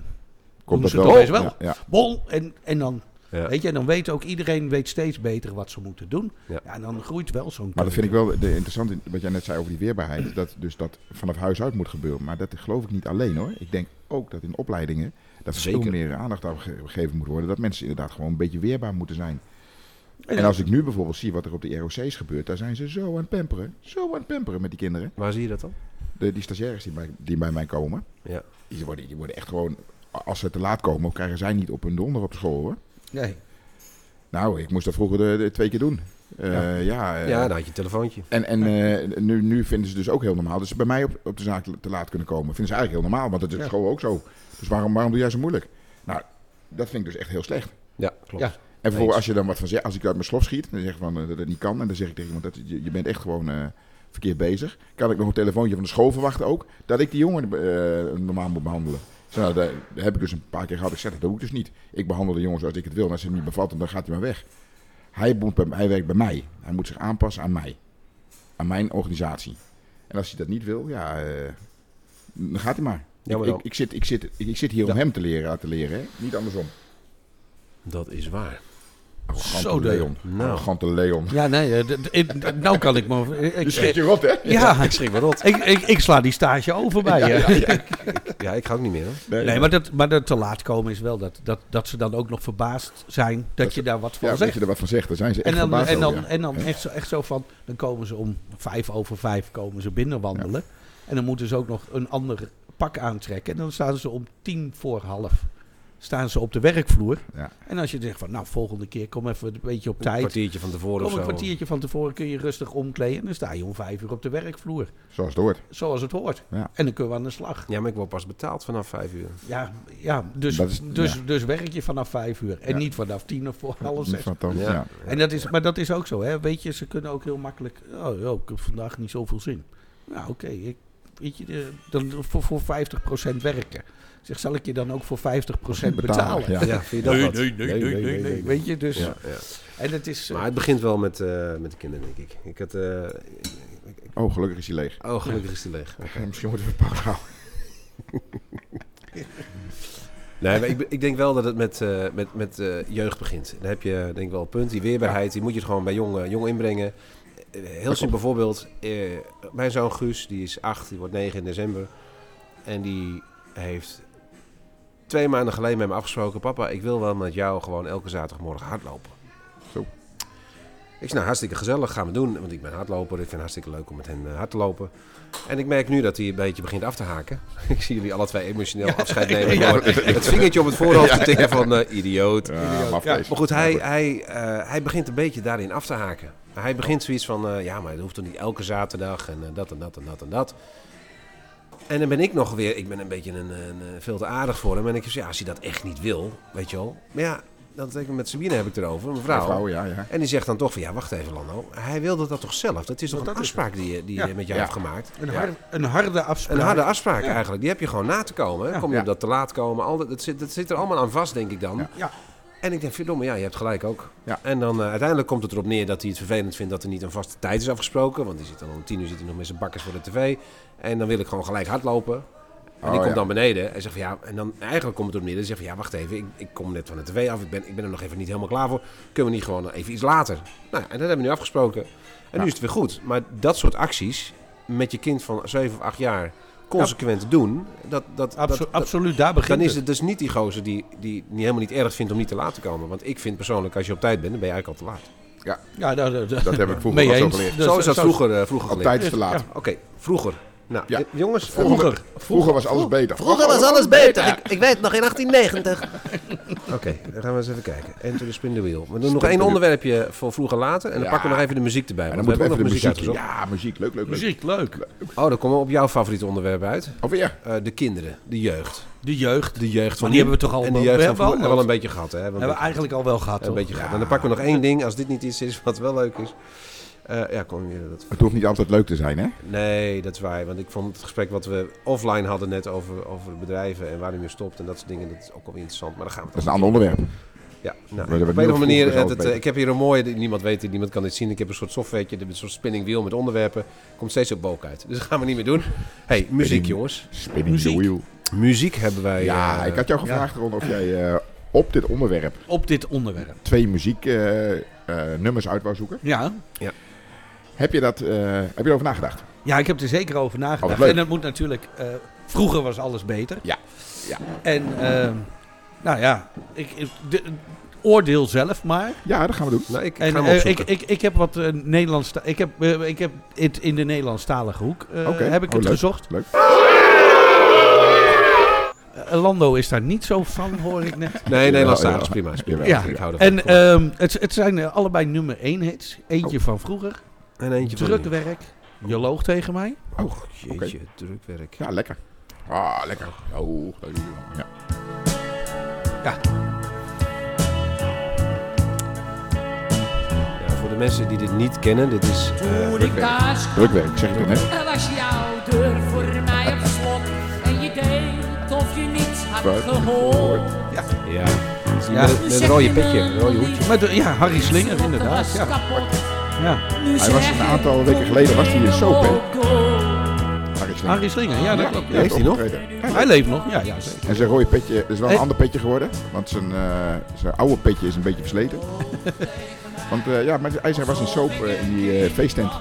[SPEAKER 3] doen
[SPEAKER 1] dat
[SPEAKER 3] ze het opeens
[SPEAKER 1] wel.
[SPEAKER 3] wel.
[SPEAKER 1] Ja, ja.
[SPEAKER 3] Bol en, en dan,
[SPEAKER 2] Ja.
[SPEAKER 3] weet je, en dan weet ook iedereen weet steeds beter wat ze moeten doen.
[SPEAKER 2] Ja.
[SPEAKER 3] Ja. en dan groeit wel zo'n
[SPEAKER 1] Maar dat vind ik
[SPEAKER 3] keuken.
[SPEAKER 1] wel de, interessant, in- wat jij net zei over die weerbaarheid. <clears throat> Dat dus dat vanaf huis uit moet gebeuren. Maar dat geloof ik niet alleen hoor. Ik denk ook dat in opleidingen dat er veel
[SPEAKER 2] Zeker.
[SPEAKER 1] meer aandacht aan ge- gegeven moet worden. Dat mensen inderdaad gewoon een beetje weerbaar moeten zijn.
[SPEAKER 3] En
[SPEAKER 1] En als ik nu bijvoorbeeld zie wat er op de ROC's gebeurt, daar zijn ze zo aan het pamperen. Zo aan het pamperen met die kinderen.
[SPEAKER 2] Waar zie je dat dan?
[SPEAKER 1] De, die stagiaires die bij, die bij mij komen,
[SPEAKER 2] Ja.
[SPEAKER 1] die worden, die worden echt gewoon, als ze te laat komen, krijgen zij niet op hun donder op school hoor.
[SPEAKER 3] Nee.
[SPEAKER 1] Nou, ik moest dat vroeger de, de twee keer doen. Eh, ja. eh,
[SPEAKER 2] ja, nou. dan had je een telefoontje.
[SPEAKER 1] En, en eh, nu, nu vinden ze dus ook heel normaal. Dus bij mij op, op de zaak te laat kunnen komen, vinden ze eigenlijk heel normaal. Want dat is op
[SPEAKER 3] Ja.
[SPEAKER 1] school ook zo. Dus waarom, waarom doe jij zo moeilijk? Nou, dat vind ik dus echt heel slecht.
[SPEAKER 2] Ja, klopt.
[SPEAKER 3] Ja.
[SPEAKER 1] En
[SPEAKER 2] Eens.
[SPEAKER 1] vervolgens, als je dan wat van zegt, als ik uit mijn slof schiet, dan zeg ik van eh, dat het niet kan. En dan zeg ik tegen iemand, dat, je, je bent echt gewoon eh, verkeerd bezig. Kan ik nog een telefoontje van de school verwachten ook? Dat ik die jongen eh, normaal moet behandelen. Ik zei, nou, daar- daar heb ik dus een paar keer gehad. Ik zeg, dat doe ik dus niet. Ik behandel de jongen zoals ik het wil. En als het hem niet bevalt, dan gaat hij maar weg. Hij, moet bij, hij werkt bij mij. Hij moet zich aanpassen aan mij. Aan mijn organisatie. En als hij dat niet wil, ja, eh, dan gaat hij maar.
[SPEAKER 2] Ja, maar
[SPEAKER 1] ik,
[SPEAKER 2] dan-
[SPEAKER 1] ik, zit, ik, zit, ik, zit hier om
[SPEAKER 2] Ja.
[SPEAKER 1] hem te leren, aan te leren. Hè? Niet andersom.
[SPEAKER 2] Dat is waar.
[SPEAKER 1] Arrogante
[SPEAKER 3] Zo, de-
[SPEAKER 1] Leon.
[SPEAKER 2] Nou.
[SPEAKER 1] Arrogante Leon.
[SPEAKER 3] Ja, nee, eh, d- ik- d- nou kan ik me... Ik,
[SPEAKER 1] Je <laughs> schrik
[SPEAKER 3] ik,
[SPEAKER 1] je rot, hè?
[SPEAKER 3] ja,
[SPEAKER 2] Ik schrik me rot.
[SPEAKER 3] ik, ik, ik sla die stage over bij je.
[SPEAKER 2] Ja, ik ga ook niet meer. Hoor.
[SPEAKER 3] <laughs> Nee, maar dat, maar dat te laat komen is wel dat, dat, dat ze dan ook nog verbaasd zijn dat,
[SPEAKER 1] Dat
[SPEAKER 3] je daar wat van
[SPEAKER 1] ja, dat
[SPEAKER 3] zegt.
[SPEAKER 1] je er wat van zegt, daar zijn ze echt
[SPEAKER 3] En dan,
[SPEAKER 1] verbaasd
[SPEAKER 3] en dan,
[SPEAKER 1] over, ja.
[SPEAKER 3] en dan echt, zo, echt zo van, dan komen ze om vijf over vijf komen ze binnenwandelen. En dan moeten ze ook nog een ander pak aantrekken. En dan staan ze om tien voor half staan ze op de werkvloer.
[SPEAKER 1] Ja.
[SPEAKER 3] En als je zegt van, nou, volgende keer kom even een beetje op
[SPEAKER 2] Een
[SPEAKER 3] tijd.
[SPEAKER 2] kwartiertje van tevoren
[SPEAKER 3] Kom
[SPEAKER 2] of
[SPEAKER 3] een
[SPEAKER 2] zo.
[SPEAKER 3] kwartiertje van tevoren kun je rustig omkleden. En dan sta je om vijf uur op de werkvloer.
[SPEAKER 1] Zoals het hoort.
[SPEAKER 3] Zoals het hoort.
[SPEAKER 1] Ja.
[SPEAKER 3] En dan kunnen we aan de slag.
[SPEAKER 2] Ja, maar ik word pas betaald vanaf vijf uur.
[SPEAKER 3] Ja, ja, dus,
[SPEAKER 1] Dat is-
[SPEAKER 3] dus,
[SPEAKER 1] ja.
[SPEAKER 3] dus werk je vanaf vijf uur. En
[SPEAKER 1] Ja.
[SPEAKER 3] niet vanaf tien of voor half
[SPEAKER 1] Niet
[SPEAKER 3] zes.
[SPEAKER 1] van toon,
[SPEAKER 2] Ja.
[SPEAKER 1] ja.
[SPEAKER 3] En dat is, maar dat is ook zo, hè? Weet je, ze kunnen ook heel makkelijk. Oh, ja, ik heb vandaag niet zoveel zin. Nou, oké, ik- weet je, eh, dan voor, voor 50% werken. Ik Zeg, zal ik je dan ook voor 50% betalen?
[SPEAKER 1] Ja.
[SPEAKER 2] Ja, vind je dat wat?
[SPEAKER 3] Weet je, dus.
[SPEAKER 2] Ja, ja.
[SPEAKER 3] En het is. eh,
[SPEAKER 2] Maar het begint wel met, eh, met de kinderen, denk ik. Ik had... eh,
[SPEAKER 1] Oh, gelukkig is hij leeg.
[SPEAKER 2] Oh, gelukkig is die leeg.
[SPEAKER 1] Eh, Misschien moeten we een pauze houden.
[SPEAKER 2] Nee, maar ik, be- ik denk wel dat het met, eh, met, met eh, jeugd begint. Dan heb je denk ik wel een punt. Die weerbaarheid, die moet je er gewoon bij jong, jong inbrengen. Eh, Heel simpel voorbeeld. eh, mijn zoon Guus, die is acht, die wordt negen in december. En die heeft twee maanden geleden met me afgesproken... Papa, ik wil wel met jou gewoon elke zaterdagmorgen hardlopen.
[SPEAKER 1] Zo.
[SPEAKER 2] Ik zei, nou, hartstikke gezellig, gaan we doen. Want ik ben hardloper, ik vind het hartstikke leuk om met hen eh, hard te lopen. En ik merk nu dat hij een beetje begint af te haken. <laughs> Ik zie jullie alle twee emotioneel afscheid nemen. door Het vingertje op het voorhoofd te tikken van eh, idioot.
[SPEAKER 1] Ja, maar afwezen.
[SPEAKER 2] Maar goed, hij, hij, eh, hij begint een beetje daarin af te haken. Hij begint zoiets van, eh, ja, maar dat hoeft toch niet elke zaterdag en eh, dat en dat en dat en dat. En dan ben ik nog weer, ik ben een beetje een, een, eh, veel te aardig voor hem. En ik zeg, ja, als hij dat echt niet wil, weet je wel. Maar ja, dat heb ik met Sabine heb ik het erover, mijn
[SPEAKER 1] Ja,
[SPEAKER 2] vrouw.
[SPEAKER 1] vrouw, ja, <laughs> ja.
[SPEAKER 2] En die zegt dan toch van, ja, wacht even Lando. Hij wilde dat toch zelf? Dat is toch
[SPEAKER 3] Want
[SPEAKER 2] een
[SPEAKER 3] dat is
[SPEAKER 2] afspraak die, je- die je
[SPEAKER 3] Ja.
[SPEAKER 2] met jou
[SPEAKER 1] Ja.
[SPEAKER 2] hebt gemaakt?
[SPEAKER 3] een,
[SPEAKER 2] Ja.
[SPEAKER 3] har- een harde afspraak.
[SPEAKER 2] Een harde afspraak
[SPEAKER 3] Ja.
[SPEAKER 2] eigenlijk. Die heb je gewoon na te komen. hè.
[SPEAKER 3] Ja.
[SPEAKER 2] Kom je
[SPEAKER 1] Ja.
[SPEAKER 2] op dat te laat komen. Al dat, dat, zit, dat zit er allemaal aan vast, denk ik dan.
[SPEAKER 1] Ja.
[SPEAKER 3] Ja.
[SPEAKER 2] En ik denk, verdomme, ja, je hebt gelijk ook.
[SPEAKER 1] Ja.
[SPEAKER 2] En dan eh, uiteindelijk komt het erop neer dat hij het vervelend vindt dat er niet een vaste tijd is afgesproken. Want die zit dan om tien uur zit hij nog met zijn bakkers voor de tv. En dan wil ik gewoon gelijk hardlopen. En
[SPEAKER 1] Oh,
[SPEAKER 2] die komt
[SPEAKER 1] ja.
[SPEAKER 2] dan beneden en zegt van ja, en dan eigenlijk komt het op neer. Dan zegt van ja, wacht even, ik, ik kom net van de tv af, ik ben, ik ben er nog even niet helemaal klaar voor. Kunnen we niet gewoon even iets later? Nou, en dat hebben we nu afgesproken. En
[SPEAKER 1] Ja.
[SPEAKER 2] nu is het weer goed. Maar dat soort acties met je kind van 7 of 8 jaar consequent doen, dat, dat,
[SPEAKER 3] Abso-
[SPEAKER 2] dat, dat,
[SPEAKER 3] absoluut, daar begint
[SPEAKER 2] dan is
[SPEAKER 3] het.
[SPEAKER 2] het dus niet die gozer die, die, die helemaal niet erg vindt om niet te laat te komen. Want ik vind persoonlijk, als je op tijd bent, dan ben je eigenlijk al te laat.
[SPEAKER 3] Ja, dat, dat, dat-
[SPEAKER 1] Dat heb ik vroeger
[SPEAKER 3] mee
[SPEAKER 1] al zo
[SPEAKER 3] eens.
[SPEAKER 1] geleerd.
[SPEAKER 3] Dus
[SPEAKER 2] zo is dat
[SPEAKER 3] zo-
[SPEAKER 2] vroeger, eh, vroeger
[SPEAKER 1] Op
[SPEAKER 2] geleerd.
[SPEAKER 1] tijd is te laat.
[SPEAKER 3] Ja.
[SPEAKER 2] Oké, vroeger. Nou,
[SPEAKER 1] Ja.
[SPEAKER 2] eh, jongens. eh,
[SPEAKER 3] Vroeger.
[SPEAKER 1] Vroeger was alles beter.
[SPEAKER 2] alles beter. Ik, weet nog in
[SPEAKER 1] <laughs>
[SPEAKER 2] 1890. Oké, dan gaan we eens even kijken. Enter the spin the wheel. We doen nog
[SPEAKER 1] the
[SPEAKER 2] één
[SPEAKER 1] wheel.
[SPEAKER 2] onderwerpje voor vroeger later. En dan
[SPEAKER 1] Ja.
[SPEAKER 2] pakken we nog even de muziek erbij.
[SPEAKER 1] En
[SPEAKER 2] Want
[SPEAKER 1] dan
[SPEAKER 2] we
[SPEAKER 1] moeten we even
[SPEAKER 2] hebben ook
[SPEAKER 1] de
[SPEAKER 2] nog
[SPEAKER 1] muziek
[SPEAKER 2] muziek uitgezocht.
[SPEAKER 1] Ja, muziek. Leuk, leuk, leuk.
[SPEAKER 3] Muziek, leuk.
[SPEAKER 2] Oh, dan komen we op jouw favoriete onderwerp uit.
[SPEAKER 1] Of weer?
[SPEAKER 2] Eh, de kinderen, de jeugd.
[SPEAKER 3] De jeugd.
[SPEAKER 2] De jeugd van
[SPEAKER 3] Maar die
[SPEAKER 2] nu.
[SPEAKER 3] hebben we toch al
[SPEAKER 2] En de
[SPEAKER 3] be-
[SPEAKER 2] jeugd van
[SPEAKER 3] be-
[SPEAKER 2] vroeger hebben we al een
[SPEAKER 3] behandeld?
[SPEAKER 2] beetje gehad. Hè? Hebben we
[SPEAKER 3] Hebben we eigenlijk al wel gehad,
[SPEAKER 2] Een
[SPEAKER 3] toch?
[SPEAKER 2] beetje gehad. En dan pakken we nog één ding, als dit niet iets is wat wel leuk is. Eh, ja, kom weer dat.
[SPEAKER 1] Het hoeft niet altijd leuk te zijn, hè?
[SPEAKER 2] Nee, dat is waar. Want ik vond het gesprek wat we offline hadden net over, over bedrijven en waarom je stopt en dat soort dingen, dat is ook wel interessant. Maar daar gaan we
[SPEAKER 1] Dat is
[SPEAKER 2] het
[SPEAKER 3] Nou,
[SPEAKER 1] een ander onderwerp.
[SPEAKER 2] Ja, nou,
[SPEAKER 1] We hebben
[SPEAKER 2] op een
[SPEAKER 1] heel
[SPEAKER 2] of andere
[SPEAKER 1] vroeg
[SPEAKER 2] manier, eh,
[SPEAKER 1] besloten
[SPEAKER 2] dat, eh,
[SPEAKER 1] beter.
[SPEAKER 2] ik heb hier een mooie, die- niemand weet dit, niemand kan dit zien. Ik heb een soort softwaretje, een soort spinning wheel met onderwerpen. Komt steeds op boek uit. Dus dat gaan we niet meer doen. hey, muziek jongens.
[SPEAKER 1] Spinning
[SPEAKER 3] Muziek.
[SPEAKER 1] the wheel.
[SPEAKER 2] Muziek hebben wij.
[SPEAKER 1] Ja,
[SPEAKER 2] eh,
[SPEAKER 1] ik had jou gevraagd, Ron, of jij eh, op dit onderwerp
[SPEAKER 3] Op dit onderwerp.
[SPEAKER 1] twee muzieknummers uit wou zoeken.
[SPEAKER 3] Ja,
[SPEAKER 1] Heb je, dat, eh, heb je erover nagedacht?
[SPEAKER 3] Ja, ik heb er zeker over nagedacht.
[SPEAKER 1] Oh, wat leuk.
[SPEAKER 3] en dat moet natuurlijk. eh, vroeger was alles beter.
[SPEAKER 1] Ja, ja.
[SPEAKER 3] En, ehm, nou ja, ik, ik- de- oordeel zelf maar.
[SPEAKER 1] Ja, dat gaan we doen.
[SPEAKER 2] Nou, ik, ik
[SPEAKER 3] En
[SPEAKER 2] ga hem
[SPEAKER 3] eh, ik,
[SPEAKER 2] opzoeken.
[SPEAKER 3] ik, ik heb wat eh Nederlands. Ik heb, eh, ik heb het in de Nederlandstalige hoek. eh,
[SPEAKER 1] Oké.
[SPEAKER 3] Heb ik
[SPEAKER 1] Oh,
[SPEAKER 3] het
[SPEAKER 1] leuk.
[SPEAKER 3] gezocht.
[SPEAKER 1] Leuk.
[SPEAKER 3] Eh, Lando is daar niet zo van, hoor ik
[SPEAKER 1] <laughs>
[SPEAKER 3] net.
[SPEAKER 2] Nee, Nederlands
[SPEAKER 1] Jawel,
[SPEAKER 2] is prima. Is prima.
[SPEAKER 1] Jawel.
[SPEAKER 2] Ik hou ervan.
[SPEAKER 3] En ehm, het, het zijn eh, allebei nummer 1 hits.
[SPEAKER 1] Oh.
[SPEAKER 3] Eentje van vroeger.
[SPEAKER 2] en eentje van nu.
[SPEAKER 3] Drukwerk. Je loog tegen mij.
[SPEAKER 2] Oh, jeetje, drukwerk.
[SPEAKER 1] Ja, lekker. Ah, lekker. Oh, leuk. Ja.
[SPEAKER 3] Ja.
[SPEAKER 2] de mensen die dit niet kennen, dit is... eh,
[SPEAKER 4] Toen ik daar
[SPEAKER 1] Drukwerk, zeg ik toch net.
[SPEAKER 4] Er was jouw deur voor mij op slot. En je deed of je niets had gehoord.
[SPEAKER 2] ja,
[SPEAKER 3] Ja.
[SPEAKER 2] Met, met een rode petje, een rode hoedje.
[SPEAKER 3] Met de- ja, Harry Slinger, inderdaad. Ja. Ja.
[SPEAKER 1] Hij was een aantal weken geleden was hij in Soap, hè? Harry Slinger.
[SPEAKER 3] Harry Slinger, ja, dat
[SPEAKER 1] Ja,
[SPEAKER 3] klopt.
[SPEAKER 1] die heeft
[SPEAKER 3] Ja.
[SPEAKER 2] hij nog?
[SPEAKER 1] opgetreden.
[SPEAKER 3] Hij leeft nog, ja, ja zeker.
[SPEAKER 1] En zijn rode petje is wel een
[SPEAKER 3] Hey.
[SPEAKER 1] ander petje geworden. Want zijn, eh, zijn oude petje is een beetje
[SPEAKER 3] <laughs>
[SPEAKER 1] versleten. want eh, ja, maar hij zei, was een soap eh, in die eh, feesttent.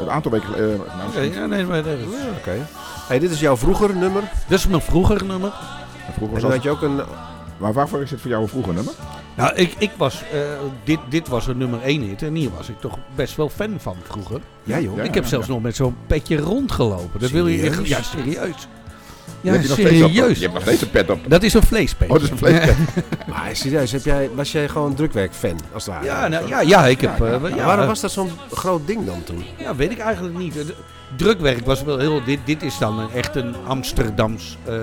[SPEAKER 1] Een aantal weken geleden. eh, nou,
[SPEAKER 3] Oké, ja, nee, maar dat is-
[SPEAKER 2] Oké. Hey, dit is jouw vroeger nummer.
[SPEAKER 3] Dat is mijn vroeger nummer.
[SPEAKER 1] vroeger
[SPEAKER 2] En
[SPEAKER 1] was
[SPEAKER 2] dan
[SPEAKER 1] dat.
[SPEAKER 2] had je ook een...
[SPEAKER 1] Maar waarvoor is het voor jou een vroeger nummer?
[SPEAKER 3] Nou, ik, ik was, eh, dit, dit was een nummer 1 hit en hier was ik toch best wel fan van vroeger.
[SPEAKER 2] Ja joh.
[SPEAKER 1] Ja.
[SPEAKER 3] ik heb zelfs nog met zo'n petje rondgelopen. Dat wil je echt,
[SPEAKER 2] Serieus?
[SPEAKER 3] ja, serieus.
[SPEAKER 1] Heb
[SPEAKER 3] Ja,
[SPEAKER 1] je nog steeds op?
[SPEAKER 3] serieus.
[SPEAKER 1] Je hebt nog steeds een pet op.
[SPEAKER 3] Dat is een vleespetje.
[SPEAKER 1] Oh, dat is een vleespetje.
[SPEAKER 2] Maar serieus, heb jij, was jij gewoon drukwerkfan als het ware?
[SPEAKER 3] Ja, nou, ja, ja, ik heb... eh, ja,
[SPEAKER 2] Maar waarom was dat zo'n groot ding dan toen?
[SPEAKER 3] Ja, weet ik eigenlijk niet. Het Drukwerk was wel heel... Dit, dit is dan een, echt een Amsterdams eh,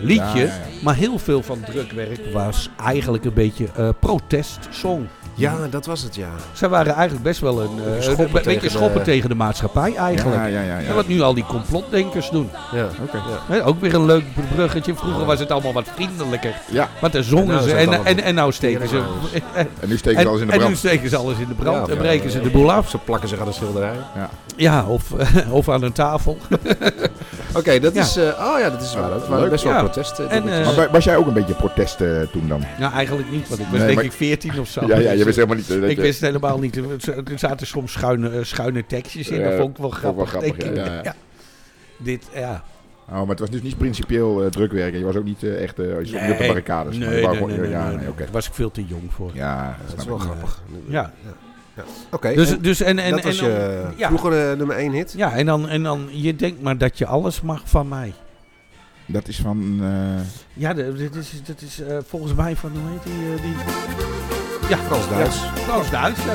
[SPEAKER 3] liedje.
[SPEAKER 1] Ja, ja, ja.
[SPEAKER 3] Maar heel veel van drukwerk was eigenlijk een beetje eh protestsong.
[SPEAKER 2] Ja, dat was het ja.
[SPEAKER 3] Zij waren eigenlijk best wel een, eh,
[SPEAKER 2] schoppen
[SPEAKER 3] een beetje
[SPEAKER 2] tegen de-
[SPEAKER 3] schoppen tegen de maatschappij eigenlijk.
[SPEAKER 1] Ja, ja, ja.
[SPEAKER 3] Ja,
[SPEAKER 1] ja.
[SPEAKER 3] wat nu al die complotdenkers doen.
[SPEAKER 2] ja.
[SPEAKER 1] Oké.
[SPEAKER 3] Hè, ook weer een leuk bruggetje. Vroeger was het allemaal wat vriendelijker.
[SPEAKER 1] Ja,
[SPEAKER 3] Want dan
[SPEAKER 2] En
[SPEAKER 3] zongen
[SPEAKER 2] nou is
[SPEAKER 3] ze
[SPEAKER 2] het
[SPEAKER 3] en, en,
[SPEAKER 2] allemaal-
[SPEAKER 3] en, nou steken ze...
[SPEAKER 2] Heerlijk
[SPEAKER 3] <laughs>
[SPEAKER 1] en nu steken
[SPEAKER 3] En,
[SPEAKER 1] ze alles in de
[SPEAKER 3] en nu
[SPEAKER 1] brand.
[SPEAKER 3] steken ze alles in de brand
[SPEAKER 2] Ja,
[SPEAKER 3] en
[SPEAKER 2] ja,
[SPEAKER 3] breken
[SPEAKER 2] ja,
[SPEAKER 3] ze
[SPEAKER 2] ja.
[SPEAKER 3] de boel af.
[SPEAKER 2] Ze plakken zich aan de schilderij.
[SPEAKER 3] Ja, of, <laughs> of aan een tafel.
[SPEAKER 2] Oké, dat
[SPEAKER 3] Ja.
[SPEAKER 2] is... eh, oh ja, dat is waar. Dat waren
[SPEAKER 1] Leuk.
[SPEAKER 2] best wel
[SPEAKER 3] Ja.
[SPEAKER 2] protest. eh,
[SPEAKER 3] En,
[SPEAKER 2] dingetjes.
[SPEAKER 1] Maar wa- was jij ook een beetje protest eh, toen dan?
[SPEAKER 3] Nou, eigenlijk niet, want ik was
[SPEAKER 1] Nee,
[SPEAKER 3] denk
[SPEAKER 1] maar-
[SPEAKER 3] ik 14 of zo.
[SPEAKER 1] Ja, ja,
[SPEAKER 3] Dus,
[SPEAKER 1] je wist
[SPEAKER 3] eh,
[SPEAKER 1] helemaal niet. eh, dat
[SPEAKER 3] Ik
[SPEAKER 1] je-
[SPEAKER 3] wist helemaal niet. Er z- Er zaten soms schuine, eh, schuine tekstjes in. Dat
[SPEAKER 1] Ja,
[SPEAKER 3] vond ik wel
[SPEAKER 1] vond ik
[SPEAKER 3] grappig.
[SPEAKER 1] wel grappig,
[SPEAKER 3] denk ik.
[SPEAKER 1] ja, ja.
[SPEAKER 3] Dit, ja.
[SPEAKER 1] Oh, maar het was dus niet principieel eh, drukwerk. en Je was ook niet eh, echt eh, je stond niet op de
[SPEAKER 3] Nee.
[SPEAKER 1] barricades.
[SPEAKER 3] Nee,
[SPEAKER 1] Je wou
[SPEAKER 3] nee,
[SPEAKER 1] gewoon-
[SPEAKER 3] nee, nee,
[SPEAKER 1] ja,
[SPEAKER 3] nee,
[SPEAKER 1] nee,
[SPEAKER 3] nee.
[SPEAKER 1] oké.
[SPEAKER 3] Daar was ik veel te jong voor. Ja.
[SPEAKER 1] Ja,
[SPEAKER 2] Dat
[SPEAKER 1] snap
[SPEAKER 2] is wel
[SPEAKER 1] ik.
[SPEAKER 2] grappig.
[SPEAKER 3] Ja.
[SPEAKER 2] Oké.
[SPEAKER 3] Dus, dus en, en,
[SPEAKER 2] dat was
[SPEAKER 3] en dan-
[SPEAKER 2] je
[SPEAKER 3] ja.
[SPEAKER 2] vroeger eh, nummer 1 hit.
[SPEAKER 3] Ja, en dan, en dan, je denkt maar dat je alles mag van mij.
[SPEAKER 1] Dat is van... eh,
[SPEAKER 3] Ja, de- dit is, dit is eh, volgens mij van, hoe heet die? eh, die... Ja,
[SPEAKER 2] Frans Duits.
[SPEAKER 3] Ja, Frans Duits, ja.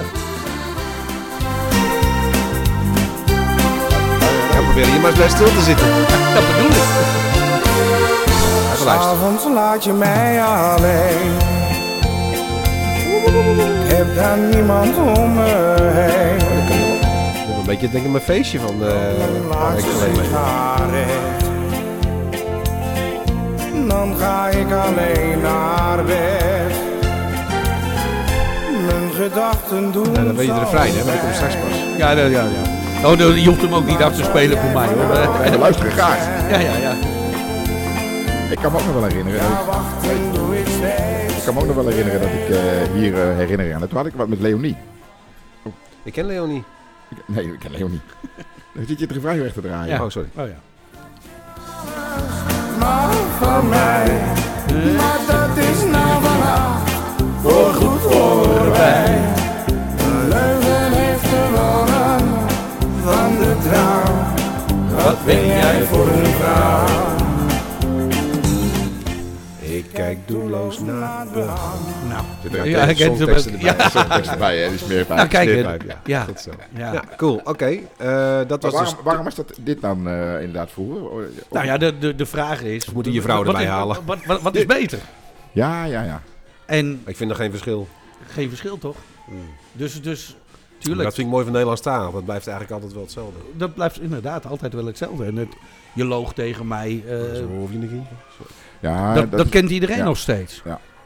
[SPEAKER 2] Ja, probeer hier maar eens bij stil te zitten.
[SPEAKER 3] Dat bedoel ik.
[SPEAKER 2] Even luisteren.
[SPEAKER 5] S'avonds laat je mij alleen. Ik heb daar niemand om me heen.
[SPEAKER 2] Ik heb een beetje denk ik mijn feestje van eh een paar weken
[SPEAKER 5] Laatste
[SPEAKER 2] geleden.
[SPEAKER 5] sigaret. Dan ga ik alleen naar bed. Mijn gedachten doen.
[SPEAKER 2] Nou, dan weet je de refrein, hè, maar dat komt straks pas.
[SPEAKER 3] Ja, ja, ja. ja. Oh, dan- je hoeft hem ook niet af te spelen voor mij. Hoor. <laughs>
[SPEAKER 1] We luisteren graag.
[SPEAKER 3] Ja, ja, ja.
[SPEAKER 1] Ik kan me ook nog wel herinneren. eh,
[SPEAKER 5] Ja, wachten doe ik steeds.
[SPEAKER 1] Ik kan me ook nog wel herinneren dat ik eh, hier eh, herinnering aan. En Toen had ik wat met Leonie.
[SPEAKER 2] Ik ken Leonie.
[SPEAKER 1] Ik- Nee, ik ken Leonie. Dan zit je het refrein weg te draaien.
[SPEAKER 3] Ja.
[SPEAKER 2] Oh, sorry.
[SPEAKER 3] Oh, ja.
[SPEAKER 5] Maar van mij. Maar dat is nou vanaf. Voorgoed voorbij. De leugen heeft gewonnen van de trouw. Wat ben jij voor een vrouw?
[SPEAKER 2] Ik kijk doelloos naar het behang.
[SPEAKER 3] Nou,
[SPEAKER 1] Zit er
[SPEAKER 3] Ja, ik ken ze
[SPEAKER 2] songteksten
[SPEAKER 3] ook.
[SPEAKER 2] erbij.
[SPEAKER 3] Ja.
[SPEAKER 1] tekst bij, hè? Die smeerpijp.
[SPEAKER 3] Nou, kijk,
[SPEAKER 1] Smeerpijp,
[SPEAKER 3] hè.
[SPEAKER 1] ja.
[SPEAKER 3] Ja.
[SPEAKER 2] Goed zo.
[SPEAKER 3] ja.
[SPEAKER 2] Ja, cool. Oké. eh, dat
[SPEAKER 1] Maar
[SPEAKER 2] was
[SPEAKER 1] waarom,
[SPEAKER 2] dus...
[SPEAKER 1] waarom was dat dit dan eh, inderdaad vroeger?
[SPEAKER 3] Nou ja, de, de, de vraag is...
[SPEAKER 2] moet je je vrouw
[SPEAKER 3] wat
[SPEAKER 2] erbij
[SPEAKER 3] is-
[SPEAKER 2] halen.
[SPEAKER 3] Wat, wat, wat is beter?
[SPEAKER 1] ja, ja, ja.
[SPEAKER 3] En
[SPEAKER 2] Ik vind er geen verschil.
[SPEAKER 3] geen verschil, toch? Dus, dus
[SPEAKER 2] Maar
[SPEAKER 3] tuurlijk,
[SPEAKER 2] Dat vind ik mooi van Nederlands taal. Dat blijft eigenlijk altijd wel hetzelfde.
[SPEAKER 3] dat blijft inderdaad altijd wel hetzelfde. En het, je loog tegen mij, eh,
[SPEAKER 2] Zo hoef je niet.
[SPEAKER 1] Ja,
[SPEAKER 3] dat, dat,
[SPEAKER 1] is-
[SPEAKER 3] kent iedereen
[SPEAKER 1] ja.
[SPEAKER 3] nog steeds.